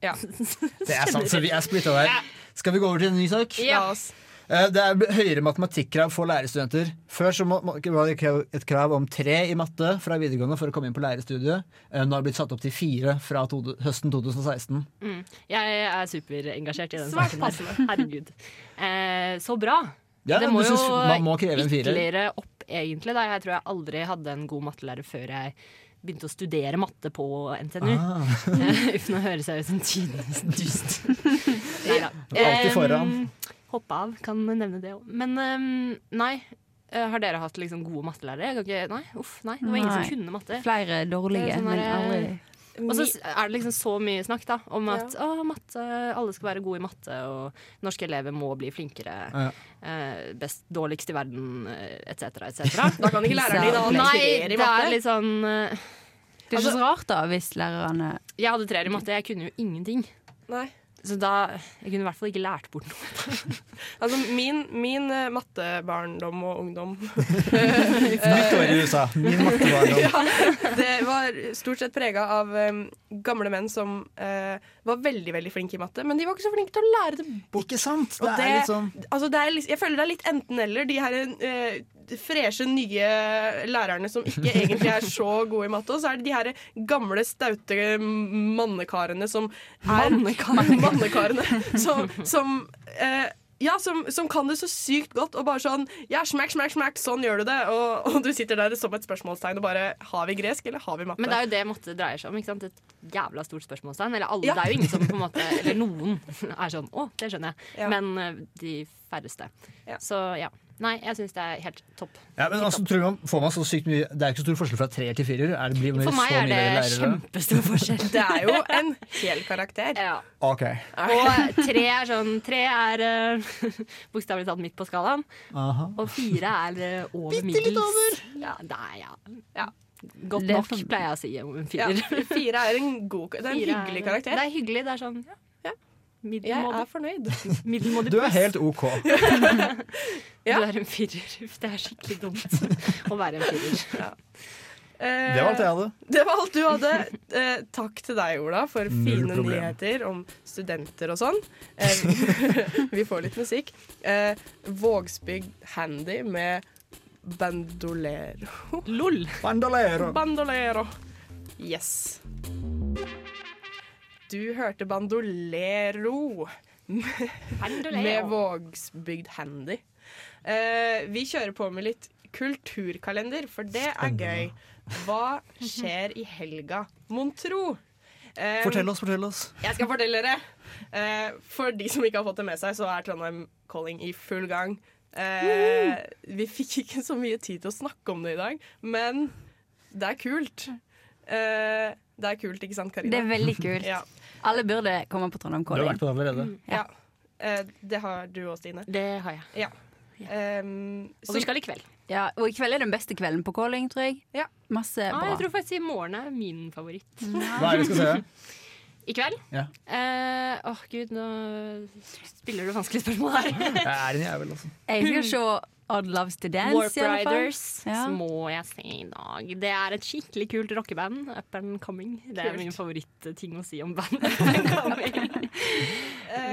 S2: Ja.
S4: Det er sant, så vi er splitta der. Skal vi gå over til en ny sak?
S2: Ja. La oss.
S4: Eh, Det er høyere matematikkrav for lærerstudenter. Før så må- må- var det krav- et krav om tre i matte fra videregående for å komme inn på lærerstudiet. Eh, Nå har det blitt satt opp til fire fra to, høsten 2016.
S7: Mm. Jeg er superengasjert i den
S4: Svært
S5: (laughs)
S7: saken her. Herregud. Eh, så bra.
S4: Ja,
S5: det må
S4: det
S5: jo
S4: synes- man må kreve en firer.
S5: ytterligere opp, egentlig. Da. Jeg tror jeg aldri hadde en god mattelærer før jeg begynte å studere matte på NTNU. (laughs)
S4: Ah.
S5: Eh, Uten å høre seg ut som tidenes dust. Neida.
S4: Du er alltid
S5: Em,
S4: foran.
S5: Hoppe av, kan nevne det òg. Men em, nei. Eh, Har dere hatt liksom gode mattelærere? Jeg kan ikke, nei, uff, nei, det var ingen
S3: Nei.
S5: som kunne matte.
S3: Flere dårlige,
S5: Det er sånn
S3: men
S5: der,
S3: aldri-
S5: Og så s- er det liksom så mye snakk da om at å, matte, alle skal være gode i matte, og norske elever må bli flinkere.
S4: Ja.
S5: eh, best, dårligst i verden, eh, etc., (laughs) etc.
S2: Da kan ikke læreren din ha
S5: Nei,
S2: treer i
S5: det
S2: matte.
S5: er litt sånn eh,
S3: Det er ikke
S5: Altså-
S3: så rart da, hvis lærerne
S5: Jeg hadde treer i matte, jeg kunne jo ingenting. Så da Jeg kunne i hvert fall ikke lært bort noe.
S2: Altså, min, min eh, mattebarndom og ungdom
S4: Mitt år
S5: Eh,
S4: i USA. Min
S5: (laughs)
S4: mattebarndom.
S2: (laughs) ja, Det var stort sett prega av em, gamle menn som eh, var veldig veldig flinke i matte, men de var ikke så flinke til å lære det
S4: bort. Ikke sant?
S2: Og
S4: Det er litt sånn-
S2: altså, det er, litt- jeg føler det er litt enten-eller. De her eh, freshe, nye lærerne som
S5: (laughs)
S2: ikke egentlig er så gode i matte, og så er det de her gamle, staute mannekarene som er (laughs) Mannekarene. Som, som eh, ja, som, som kan det så sykt godt, og bare sånn Ja, smack, smack, smack, sånn gjør du det. Og, og du sitter der som et spørsmålstegn og bare Har vi gresk, eller har vi matte?
S5: Men det er jo det matte dreier seg om. ikke sant? Et jævla stort spørsmålstegn. Eller alle,
S2: Ja.
S5: det er jo ingen som på en måte (laughs) Eller noen er sånn Å, det skjønner jeg.
S2: Ja.
S5: Men eh, de færreste. Så ja. Nei, jeg syns det er helt topp.
S4: Ja, men altså, tror man, får man så sykt mye Det er ikke så stor forskjell fra treer til firer. Er det, blir man
S5: For meg
S4: så
S5: er
S4: mye
S5: det
S4: bedre lærere?
S5: kjempestor forskjell.
S2: Det er jo en hel karakter.
S5: (laughs) Ja.
S4: Ok.
S5: Og tre er sånn Tre er uh, (laughs) bokstavelig talt midt på skalaen.
S4: Aha.
S5: Og fire er eh, over middels. Bitte litt over. Ja, det er, ja. Godt
S2: Det er
S5: nok, pleier jeg å si om en firer.
S2: Ja, fire er en god Det er en
S5: Fire er-
S2: hyggelig karakter.
S5: det er hyggelig. Det er sånn ja.
S2: Jeg
S5: Middelmådig.
S2: er fornøyd.
S5: Middelmådig
S4: Du er
S5: pluss.
S4: helt OK.
S5: Eh, Du er en firer. Uff, Det er skikkelig dumt (laughs) å være en firer.
S4: Det var alt jeg hadde.
S2: Det var alt du hadde. Eh, takk til deg, Ola, for
S4: Null
S2: fine
S4: problem.
S2: nyheter om studenter og sånn. Eh, (laughs) vi får litt musikk. Eh, Vågsbygd Handy med Bandolero. LOL!
S4: Bandolero.
S2: Bandolero. Yes. Du hørte Bandolero med Vågsbygd Handy. Eh, vi kjører på med litt kulturkalender, for det er gøy. Hva skjer i helga, mon tro? Eh,
S4: Fortell oss, fortell oss.
S2: Jeg skal fortelle dere. Eh, for de som ikke har fått det med seg, så er Trondheim Calling i full gang. Eh, vi fikk ikke så mye tid til å snakke om det i dag, men det er kult. Eh, det er kult, ikke sant, Karina?
S3: Det er veldig kult.
S2: Ja.
S3: Alle burde komme på Trondheim Calling.
S2: Ja. Eh, det har du òg, Stine.
S5: Det har jeg.
S2: Ja. Ehm,
S3: Og vi skal
S5: i kveld.
S3: Ja, og i kveld er den beste kvelden på calling, tror jeg. Masse
S5: Ah,
S3: bra.
S5: jeg tror faktisk i morgen er min favoritt.
S4: Hva er det vi skal se?
S5: I kveld?
S4: Ja.
S5: Eh, Åh, gud, nå spiller du vanskelige spørsmål (laughs) her.
S4: Jeg er en jævel, altså.
S5: (laughs)
S3: Jeg skal se Odd Loves to Dance,
S5: Warp
S3: i alle fall. (laughs)
S5: Riders
S3: Ja.
S5: så må jeg se i dag. Det er et skikkelig kult rockeband. Up and Coming. Det er
S3: Kult.
S5: min favorittting å si om band. (laughs) Up and Coming.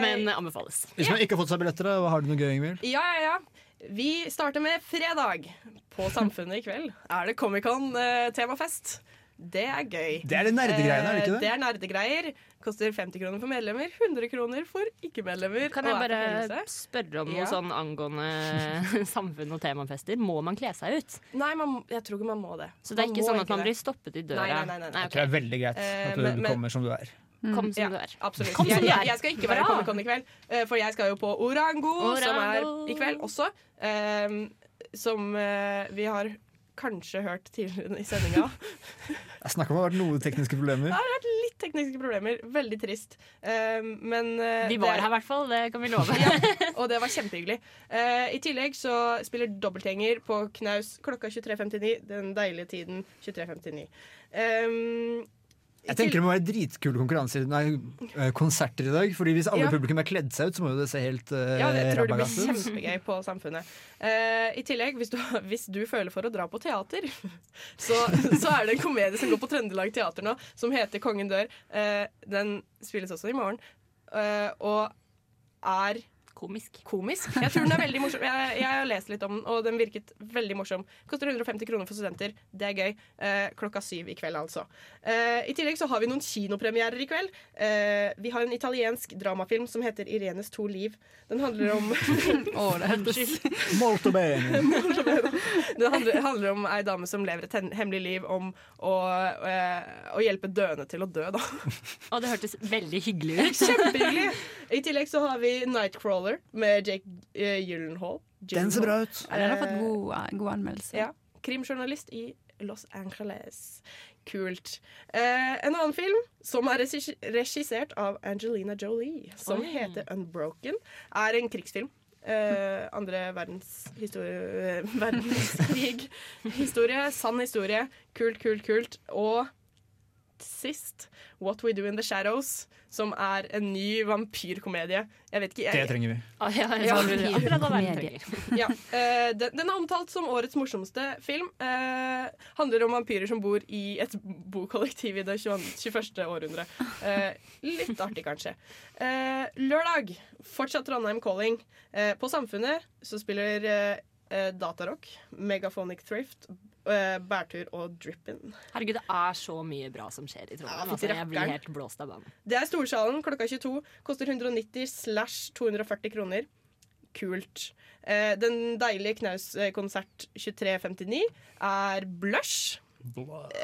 S5: Men eh, anbefales.
S4: Hvis man ikke har fått seg billetter, da, har du noe gøy, Ingvild?
S2: Ja, ja, ja. Vi starter med fredag. På Samfunnet i kveld er det Comic-Con eh, temafest. Det er gøy.
S4: Det er de nerdegreiene, er det ikke det?
S2: Eh, Det er nerdegreier. Koster 50 kroner for medlemmer, 100 kroner for ikke-medlemmer.
S5: Kan
S2: og
S5: jeg
S2: er
S5: bare
S2: fornøyelse.
S5: spørre om
S2: Ja.
S5: noe sånn (laughs) angående samfunn og temafester? Må man kle seg ut?
S2: Nei, man, jeg tror ikke man må det.
S5: Så det er
S2: Man
S5: ikke
S2: må
S5: sånn at man
S2: det.
S5: blir stoppet i døra?
S2: Nei, nei, nei, nei, nei.
S4: Jeg tror det er veldig greit
S2: Eh,
S4: at du
S2: men- men-
S4: kommer som du er.
S5: Kom som
S2: Ja,
S5: du er.
S2: Absolutt.
S5: Kom som
S2: jeg,
S5: du
S2: jeg,
S5: er.
S2: jeg skal ikke være
S5: Bra.
S2: Comic-Con i kveld, eh, for jeg skal jo på Orango, som
S5: Orango.
S2: er i kveld også. eh, Som eh, vi har kanskje hørt tidligere i sendinga.
S4: Jeg snakker om det har vært noen tekniske problemer.
S2: Det har vært litt tekniske problemer. Veldig trist. Eh, men eh,
S5: Vi var
S2: det-
S5: her i hvert fall, det kan vi love.
S2: ja, (laughs) og det var kjempehyggelig. Eh, I tillegg så spiller dobbeltgjenger på Knaus klokka 23.59. Den deilige tiden 23.59. Um,
S4: Jeg tenker det må være dritkule konkurranser Nei, eh, konserter i dag. Fordi hvis alle
S2: Ja.
S4: i publikum er kledd seg ut, så må jo det se helt uh,
S2: ja, jeg tror det blir
S4: rabagast ut.
S2: kjempegøy på Samfunnet. Eh, I tillegg, hvis du, hvis du føler for å dra på teater, (laughs) så, så er det en komedie som går på Trøndelag Teater nå, som heter 'Kongen dør'. Eh, den spilles også i morgen. eh, og er
S5: (laughs) Komisk.
S2: Komisk. Jeg tror den er veldig morsom. Jeg, jeg har lest litt om den, og den virket veldig morsom. Koster 150 kroner for studenter. Det er gøy. Eh, klokka syv i kveld, altså. Eh, I tillegg så har vi noen kinopremierer i kveld. Eh, vi har en italiensk dramafilm som heter 'Irenes to liv'. Den handler om (laughs)
S4: Molto bene.
S2: Det handler, handler om ei dame som lever et hen- hemmelig liv om å, eh, å hjelpe døende til å dø, da. (laughs)
S5: Og det hørtes veldig hyggelig ut.
S2: Kjempehyggelig! I tillegg så har vi Nightcrawler med Jake eh, Gyllenhaal.
S3: Den ser bra
S2: ut.
S3: Ja, den har fått god, god anmeldelse.
S2: Ja. Krimjournalist i Los Angeles. Kult. Eh, en annen film som er regis- regissert av Angelina Jolie, som
S5: Oi.
S2: heter Unbroken, er en krigsfilm. Eh, andre verdens (laughs) historie, verdenskrig. Historie. Sann historie. Kult, kult, kult. Og sist What We Do In The Shadows, som er en ny vampyrkomedie. Jeg vet ikke jeg,
S4: Det trenger vi.
S5: Ah, ja, jeg
S2: Ja.
S5: sa det. Akkurat hva verden trenger.
S2: Ja, eh, den, den er omtalt som årets morsomste film. Eh, handler om vampyrer som bor i et bokollektiv i det 22, 21. århundre. Eh, litt artig, kanskje. Eh, lørdag, fortsatt Trondheim Calling. Eh, på Samfunnet så spiller eh, eh, Datarock, Megaphonic Thrift, eh, Bærtur og Drippin'.
S5: Herregud, det er så mye bra som skjer i Trondheim.
S2: Ja, fytti
S5: altså, jeg blir
S2: rakkeren.
S5: helt blåst av banen.
S2: Det er Storsalen klokka 22. Koster 190 slash 240 kroner. Kult. Eh, den deilige knauskonsert 2359 er Blush.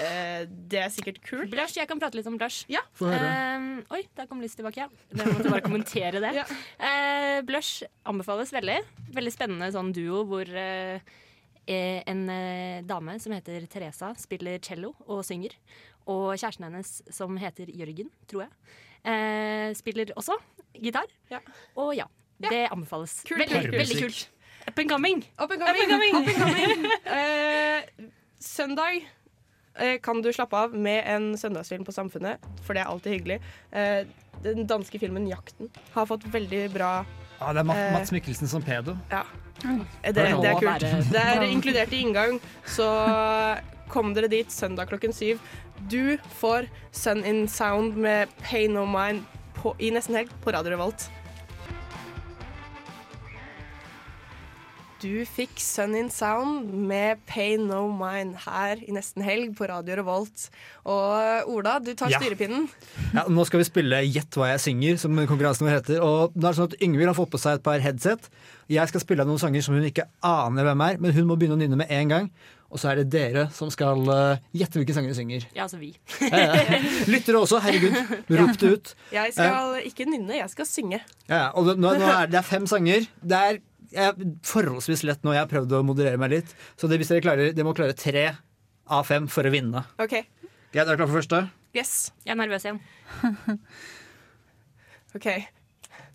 S2: Eh, det er sikkert kult.
S5: Blush, Jeg kan prate litt om blush.
S2: Ja.
S5: Få høre. Um, oi, der kom lyset tilbake. Ja. Det måtte jeg bare kommentere (laughs) det. Eh, blush anbefales veldig. Veldig spennende sånn duo hvor eh, eh, en eh, dame som heter Teresa, spiller cello og synger. Og kjæresten hennes, som heter Jørgen, tror jeg, eh, spiller også gitar. Og ja, det anbefales.
S2: Kult,
S5: veldig,
S2: kult, kult.
S5: veldig kult. Up and coming!
S2: Up and coming! Up and coming. eh, søndag eh, kan du slappe av med en søndagsfilm på Samfunnet, for det er alltid hyggelig. Eh, den danske filmen 'Jakten' har fått veldig bra
S4: Ja, Ah, det er Mat
S2: Eh.
S4: Mats Mikkelsen som pedo.
S2: Ja. Det, det er kult. Det er inkludert i inngang, så kom dere dit søndag klokken syv. Du får Sun in Sound med Pain No Mind på, i nesten helg på Radio Revolt. Du fikk Sun in Sound med Pain No Mind her i nesten helg på Radio Revolt. Og Ola, du tar
S4: Ja.
S2: styrepinnen.
S4: Ja, nå skal vi spille Gjett hva jeg synger, som konkurransen vår heter. Og nå er det sånn at Yngvild har fått på seg et par headset. Jeg skal spille av noen sanger som hun ikke aner hvem er, men hun må begynne å nynne med en gang. Og så er det dere som skal eh, gjette hvilke sanger hun synger.
S5: Ja, altså vi.
S4: Ja, ja. Lyttere også, herregud. Rop det ut.
S2: Jeg skal ikke nynne, jeg skal synge.
S4: Ja, ja, og nå, nå er det, det er fem sanger. Det er eh, forholdsvis lett nå. Jeg har prøvd å moderere meg litt. Så det, hvis dere klarer, dere må klare tre av fem for å vinne.
S2: OK.
S4: Greit, er dere klare for første?
S2: Yes.
S5: Jeg er nervøs igjen.
S2: OK.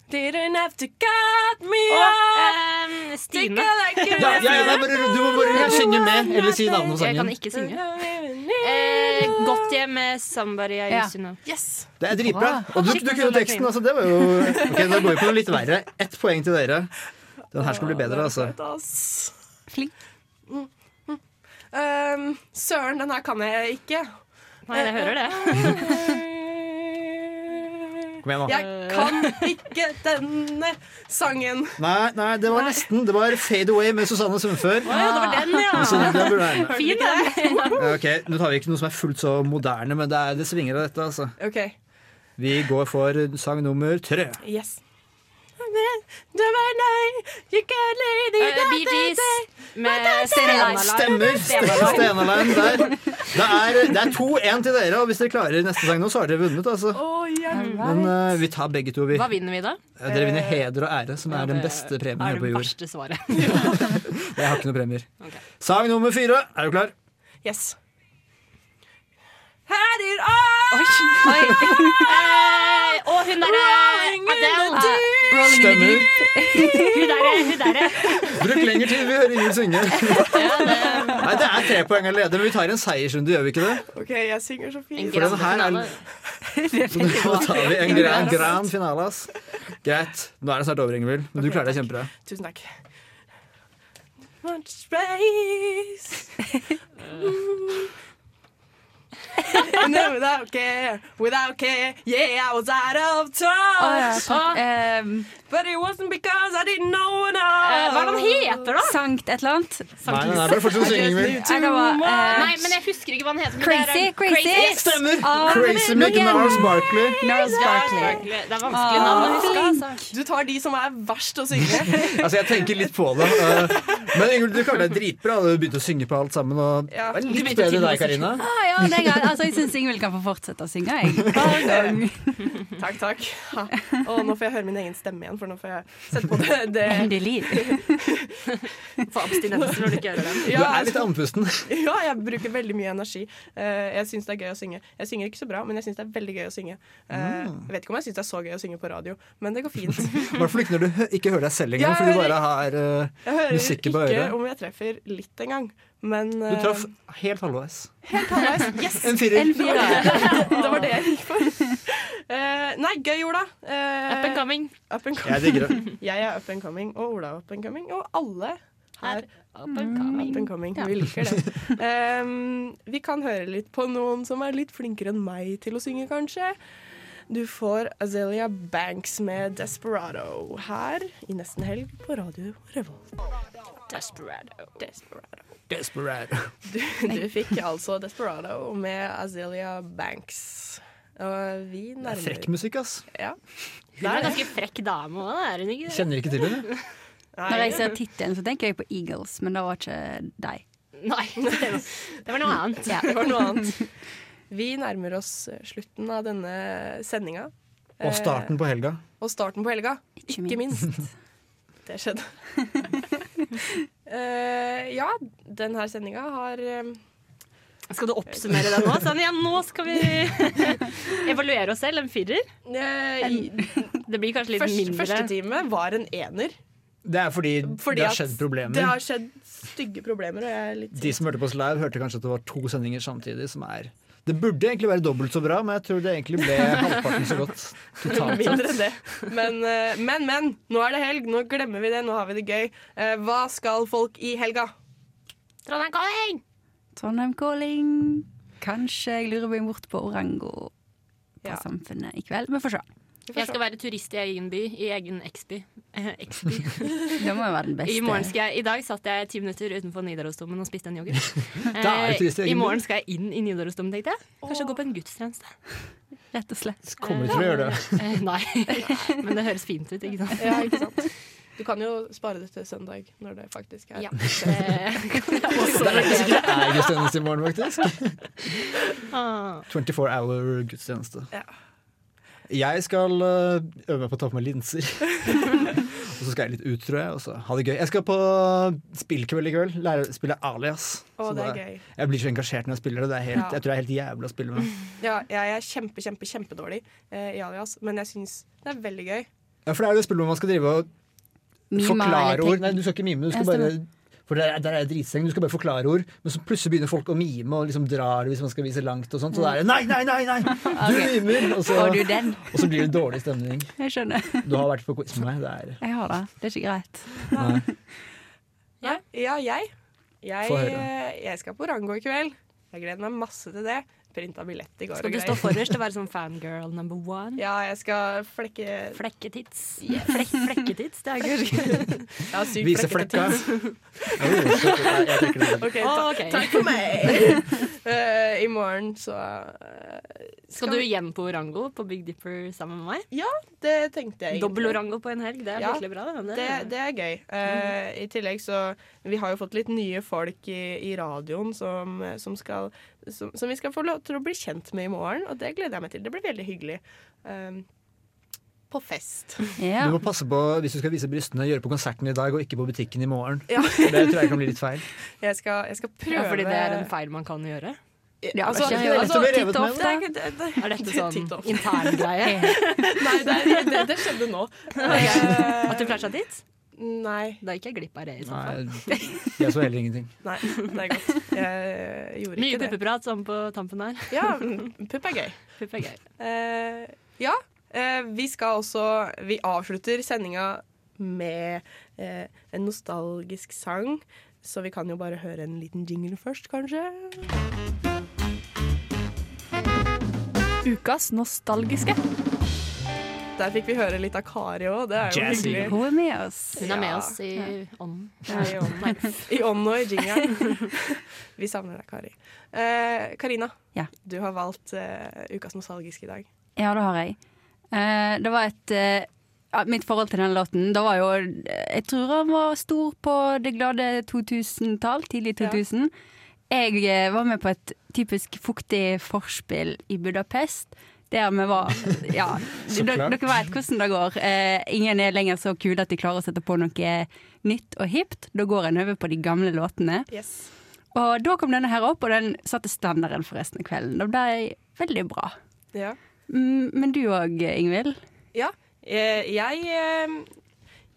S2: Didn't have to cut me
S5: off. ehm, Stine.
S4: Ja, ja, (laughs) ja, bare, du må bare synge med, eller si navnet på
S5: Jeg kan
S4: sangen.
S5: ikke synge. Eh, godt hjem med somebody I
S4: Ja.
S5: used to know.
S2: Yes.
S4: Det er dritbra. Og du, du kunne teksten, altså. Det var jo Ok, Da går vi på noe litt verre. Ett poeng til dere. Den her skal bli bedre, altså.
S2: Flink. Um, søren, den her kan jeg ikke.
S5: Nei, jeg hører det.
S4: Kom igjen,
S2: Jeg
S4: nå.
S2: kan ikke denne sangen.
S4: Nei, nei, det var nesten. Det var Fade Away med Susanne Sundfør. Men sånn, det burde være med.
S5: Fin, Eh, den.
S4: Ja, Ok, Nå tar vi ikke noe som er fullt så moderne, men det, er, det svinger av dette, altså.
S2: OK.
S4: Vi går for sang nummer tre.
S2: Yes. Du er nei, you can't lay the
S5: Eh, Bee Gees med
S4: Stemmer. Stemmer. Stenaland der. Det er, det er 2-1 til dere, og hvis dere klarer neste sang nå, så har dere vunnet, altså. Men eh, vi tar begge to, vi.
S5: Hva vinner vi da?
S4: Ja, Dere vinner heder og ære, som er den beste premien
S5: er
S4: her på
S5: det
S4: jord.
S5: verste svaret.
S4: Jeg har ikke noen premier. Sang nummer fire. Er du klar?
S2: Yes. Had it all!
S5: (laughs) Oi. Eh, og hun derre Adele.
S4: Rolling in the deep.
S5: Hun derre. Hun derre.
S4: Bruk lengre tid, vi hører ingen synge. Nei, det er tre poeng allerede, men vi tar en seiersrunde, gjør vi ikke det?
S2: OK, jeg synger så fint.
S4: For den her er
S5: Eh,
S4: Så da tar vi en gran, gran finale, ass. Greit. Nå er det snart over, Ingvild, men du klarer deg kjempebra.
S2: Tusen takk. Much space. Mm. (laughs) No, without care, without care, yeah, I was out of
S3: Å, ja,
S2: touch.
S5: Ah.
S3: sånn.
S2: But it wasn't because I didn't know
S5: Eh,
S2: enough.
S5: hva er det han heter, da?
S3: Sankt et eller annet.
S5: Sankt-
S3: nei, nei, bare fortsett å synge, Ingvild.
S5: Jeg kan bare, eh, Nei, men jeg husker ikke hva han heter. men det er
S3: Crazy,
S5: en-
S3: crazy.
S5: Crazy.
S3: Av-
S4: Crazy Mick
S3: Noen-
S4: Nars Barkley.
S3: Gnarls Barkley.
S5: Ah, Det er
S2: vanskelig
S3: Ah,
S2: navn å huske.
S5: flink.
S2: Altså. Du tar de som er verst å synge.
S4: Altså, jeg tenker litt på det. eh, Men Ingrid, du klarte deg dritbra. Du begynte å synge på alt sammen. Og det var
S3: Du
S4: litt bedre
S3: begynte til
S4: enn
S3: å
S4: deg, Karina.
S3: Ah, ja, det er greit. Altså, jeg syns Ingvild kan få fortsette å synge,
S5: (laughs)
S3: jeg. Hver gang.
S2: Takk, takk. Ha. Og nå får jeg høre min egen stemme igjen, for nå får jeg sette på det. det.
S3: Endelig.
S2: Få abstinenser når du ikke hører den.
S4: Du
S2: Ja,
S4: er litt andpusten. (laughs)
S2: (laughs) ja, jeg bruker veldig mye energi. Eh, jeg syns det er gøy å synge. Jeg synger ikke så bra, men jeg syns det er veldig gøy å synge. Eh,
S4: Mm.
S2: jeg vet ikke om jeg syns det er så gøy å synge på radio, men det går fint. (laughs)
S4: I hvert fall ikke når du hø- ikke hører deg selv engang,
S2: Jeg
S4: for du
S2: hører-
S4: bare har eh,
S2: Jeg hører
S4: musikken på
S2: ikke
S4: øret.
S2: om jeg treffer litt engang, men
S4: Du
S2: eh,
S4: traff helt halvveis.
S2: Helt halvveis. Yes!
S4: En firer.
S2: Det var (laughs) det- det var det jeg gikk for. Eh, nei, gøy, Ola. Eh,
S5: Up and coming.
S2: Up and
S4: Jeg digger det.
S2: Jeg er up and coming, og Ola er up and coming, og alle her. Up
S5: and coming.
S2: Up and coming. Vi liker det. Em, vi kan høre litt på noen som er litt flinkere enn meg til å synge, kanskje. Du får Azelia Banks med 'Desperado' her i Nesten Helg på Radio Revolt. Desperado. Desperado.
S4: Desperado.
S2: Du, du fikk altså 'Desperado' med Azelia Banks. Og vi nærmer
S4: Frekk musikk, ass.
S2: Ja.
S5: Hun er en ganske frekk dame òg, er hun ikke? det?
S4: Kjenner ikke til henne.
S3: Når jeg ser tittelen, så tenker jeg på Eagles, men det var ikke deg.
S5: Nei, (laughs) det var- det var noe annet.
S3: Ja.
S2: Det var noe
S5: (laughs)
S2: annet. Vi nærmer oss eh, slutten av denne sendinga. Eh,
S4: Og starten på helga.
S2: Og starten på helga. Ikke minst.
S5: (laughs)
S2: Det skjedde. (laughs) Eh, ja, den her sendinga har eh,
S5: Skal du oppsummere det nå? Sånn, ja, nå skal vi (laughs) evaluere oss selv. En firer? Det blir kanskje litt
S2: Først,
S5: mindre.
S2: Første time var en ener.
S4: Det er fordi,
S2: Fordi
S4: det har
S2: at
S4: skjedd problemer.
S2: Det har skjedd stygge problemer, og jeg er
S4: (laughs)
S2: litt
S4: De som hørte på oss live, hørte kanskje at det var to sendinger samtidig, som er Det burde egentlig være dobbelt så bra, men jeg tror det egentlig ble halvparten så godt. Totalt
S2: (laughs) Mindre enn
S4: sett.
S2: det. Men, eh, men, men. Nå er det helg. Nå glemmer vi det. Nå har vi det gøy. Eh, Hva skal folk i helga?
S5: Trondheim calling!
S3: Trondheim calling. Kanskje jeg lurer meg bort på Orango på
S5: Ja.
S3: Samfunnet i kveld. Vi får se.
S5: Jeg skal være turist i egen by, i egen (laughs) X-by. Eh, (laughs) X-by.
S3: Det må jo være den beste.
S5: I, morgen skal jeg, I dag satt jeg ti minutter utenfor Nidarosdomen og spiste en yoghurt. (laughs)
S3: Da er du turist
S5: Eh,
S3: i egen
S5: I
S3: by.
S5: morgen skal jeg inn i Nidarosdomen, tenkte jeg. Kanskje gå på en gudstjeneste.
S3: Rett og slett.
S4: Kommer til å gjøre det.
S5: (laughs) Eh, Nei, men det høres fint ut, ikke sant?
S2: Ja, ikke sant? Du kan jo spare det til søndag, når det faktisk er.
S5: Ja. Eh, kan jeg
S4: Det er ikke
S5: også-
S4: sikkert det er gudstjeneste i morgen, faktisk.
S5: Ah.
S4: 24 hour gudstjeneste.
S2: Ja.
S4: Jeg skal øh, øve meg på å ta på meg linser.
S2: (laughs)
S4: og så skal jeg litt ut, tror jeg. Og så ha det gøy. Jeg skal på spillkveld i kveld. Lære å spille Alias.
S2: Å,
S4: Så
S2: det er gøy.
S4: Jeg blir så engasjert når jeg spiller det. det er helt,
S2: Ja.
S4: Jeg tror det er helt jævlig å spille med.
S2: Ja, jeg er kjempe, kjempe, kjempedårlig eh, i alias, men jeg syns det er veldig gøy.
S4: Ja, for det er jo et spill hvor man skal drive og
S2: Mime eller
S4: forklare
S2: tek-
S4: ord. Nei, du skal ikke mime, du skal
S2: Ja,
S4: bare
S2: stemmer.
S4: for der, er- der er jeg dritstreng. Du skal bare forklare ord, men så plutselig begynner folk å mime og liksom drar hvis man skal vise langt. Og sånt, så da er det nei, nei, nei! nei
S2: (laughs)
S4: Du mimer! Og så,
S3: Får du den?
S4: og så blir det dårlig stemning.
S3: Jeg skjønner.
S4: Du har vært på quiz med meg. Det er,
S3: Jeg har det. Det er ikke greit.
S4: nei.
S2: Ja, ja jeg. Jeg,
S4: Få høre.
S2: eh, jeg skal på Rango i kveld. Jeg gleder meg masse til det. Printa billett i går.
S5: Skal
S2: og
S5: du
S2: greier.
S5: stå forrest og være sånn fangirl number one?
S2: Ja, jeg skal flekke
S5: Flekketits. Flek, flekketits, det er kanskje
S2: Ja, sykt
S4: Vise
S2: flekkete
S4: flekka. (laughs)
S2: tits.
S4: Nei, jeg trekker det.
S2: OK, (laughs) ta,
S5: (laughs) Ah, Ok.
S2: takk for meg. Eh, I morgen så eh,
S5: Skal du igjen på Orango på Big Dipper sammen med meg?
S2: Ja, det tenkte jeg. egentlig.
S5: Dobbel Orango på en helg, det er
S2: Ja,
S5: skikkelig bra. Det,
S2: Det, det er gøy. Eh, I tillegg så Vi har jo fått litt nye folk i, i radioen som, som, skal, som, som vi skal få lov til å bli kjent med i morgen, og det gleder jeg meg til. Det blir veldig hyggelig. Eh, på fest.
S4: Du må passe på hvis du skal vise brystene, gjøre på konserten i dag og ikke på butikken i morgen.
S2: (laughs) Ja.
S4: For Det tror jeg kan bli litt feil.
S2: Jeg skal, jeg skal prøve
S5: Ja, fordi det er en feil man kan gjøre.
S2: Ja, altså,
S4: det er lett å bli revet med,
S2: det er ikke- det- det-
S5: Er
S2: (laughs)
S5: (laughs) dette
S2: det er
S5: sånn
S2: titt-off.
S5: (laughs) intern greie?
S2: Nei, det, er- det, det skjedde nå. (laughs) Eh,
S5: At du flasha dit?
S2: Nei.
S5: Da gikk jeg glipp av det. i så fall.
S4: Nei, jeg så heller ingenting.
S2: Nei, det er godt. Jeg gjorde
S5: Mye
S2: ikke det.
S5: puppeprat sånn på tampen her.
S2: Ja, mm, pupp er gøy.
S5: Pupp er gøy.
S2: Eh, ja, eh, vi skal også Vi avslutter sendinga med eh, en nostalgisk sang, så vi kan jo bare høre en liten jingle først, kanskje. Ukas nostalgiske. Der fikk vi høre litt av Kari òg. Det er jo
S5: Jazzy.
S2: hyggelig.
S5: Hun
S3: er med oss.
S5: Hun er med oss i ånden.
S2: Ja, i ånden. I ånden og i jingeren. (laughs) Vi savner deg, Kari. Eh, Karina,
S3: Ja.
S2: du har valgt eh, ukas nostalgiske i dag.
S3: Ja, det har jeg. Eh, det var et eh, ja, Mitt forhold til den låten Det var jo eh, Jeg tror han var stor på det glade 2000-tall. Tidlig 2000. Jeg eh, var med på et typisk fuktig forspill i Budapest. Der vi
S15: (laughs)
S3: var Ja,
S15: Så
S3: dere
S15: klart.
S3: dere vet hvordan det går. Eh, ingen er lenger så kule at de klarer å sette på noe nytt og hipt. Da går en over på de gamle låtene. Og da kom denne her opp, og den satte standarden for resten av kvelden. Det ble veldig bra.
S2: Ja.
S3: Mm, Men du òg, Ingvild.
S2: ja. Eh, jeg, eh,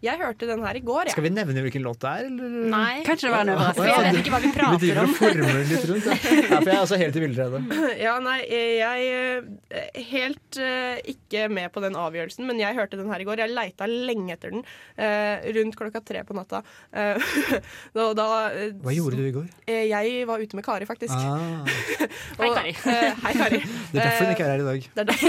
S2: jeg hørte den her i går, jeg.
S4: Skal vi nevne hvilken låt det er? Eller?
S2: Nei.
S3: Kanskje det var en
S4: Å, ja.
S3: overraskelse.
S4: Å, ja,
S3: Jeg vet
S4: du-
S3: ikke hva vi prater
S4: Vi driver og
S3: om.
S4: formler litt rundt. Ja. Ja, for jeg er altså helt i villrede.
S2: Ja, nei, jeg er helt eh, ikke med på den avgjørelsen, men jeg hørte den her i går. Jeg leita lenge etter den, eh, rundt klokka tre på natta. Eh, (laughs) da, da, eh,
S4: Hva gjorde du i går?
S2: eh, Jeg var ute med Kari, faktisk.
S4: Ah,
S2: Og,
S5: Hei, Kari.
S2: eh, hei, Kari.
S5: (laughs)
S4: det er derfor hun ikke er her i dag.
S2: Det er derfor.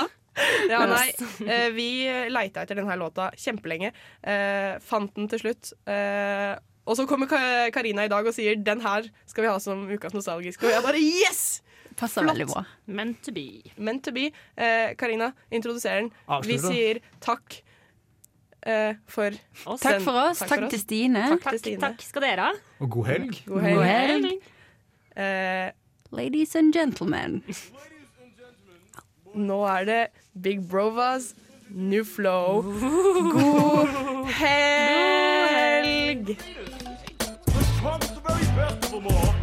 S2: ja. (laughs) ja,
S4: Men
S2: nei.
S5: (laughs)
S4: ass.
S2: eh, Vi leita etter denne låta kjempelenge. eh, Fant den til slutt. eh, Og så kommer Ka- Karina i dag og sier 'den her skal vi ha som ukas nostalgiske'. Og jeg bare 'yes!'
S3: Passer
S2: Flott.
S3: veldig bra.
S5: Meant to be.
S2: Meant to be. Eh, Karina, introduser den.
S3: Avslutter
S2: Vi
S3: da.
S2: sier takk eh, for oss.
S3: Takk for oss. Takk til Stine.
S2: Takk,
S3: Takk-
S2: til Stine.
S5: takk skal dere ha.
S4: Og god helg.
S2: God helg.
S3: God helg.
S2: Eh,
S3: Ladies and gentlemen.
S2: nå er det Big Brovas New Flow. God helg!
S15: Kom tilbake etterpå.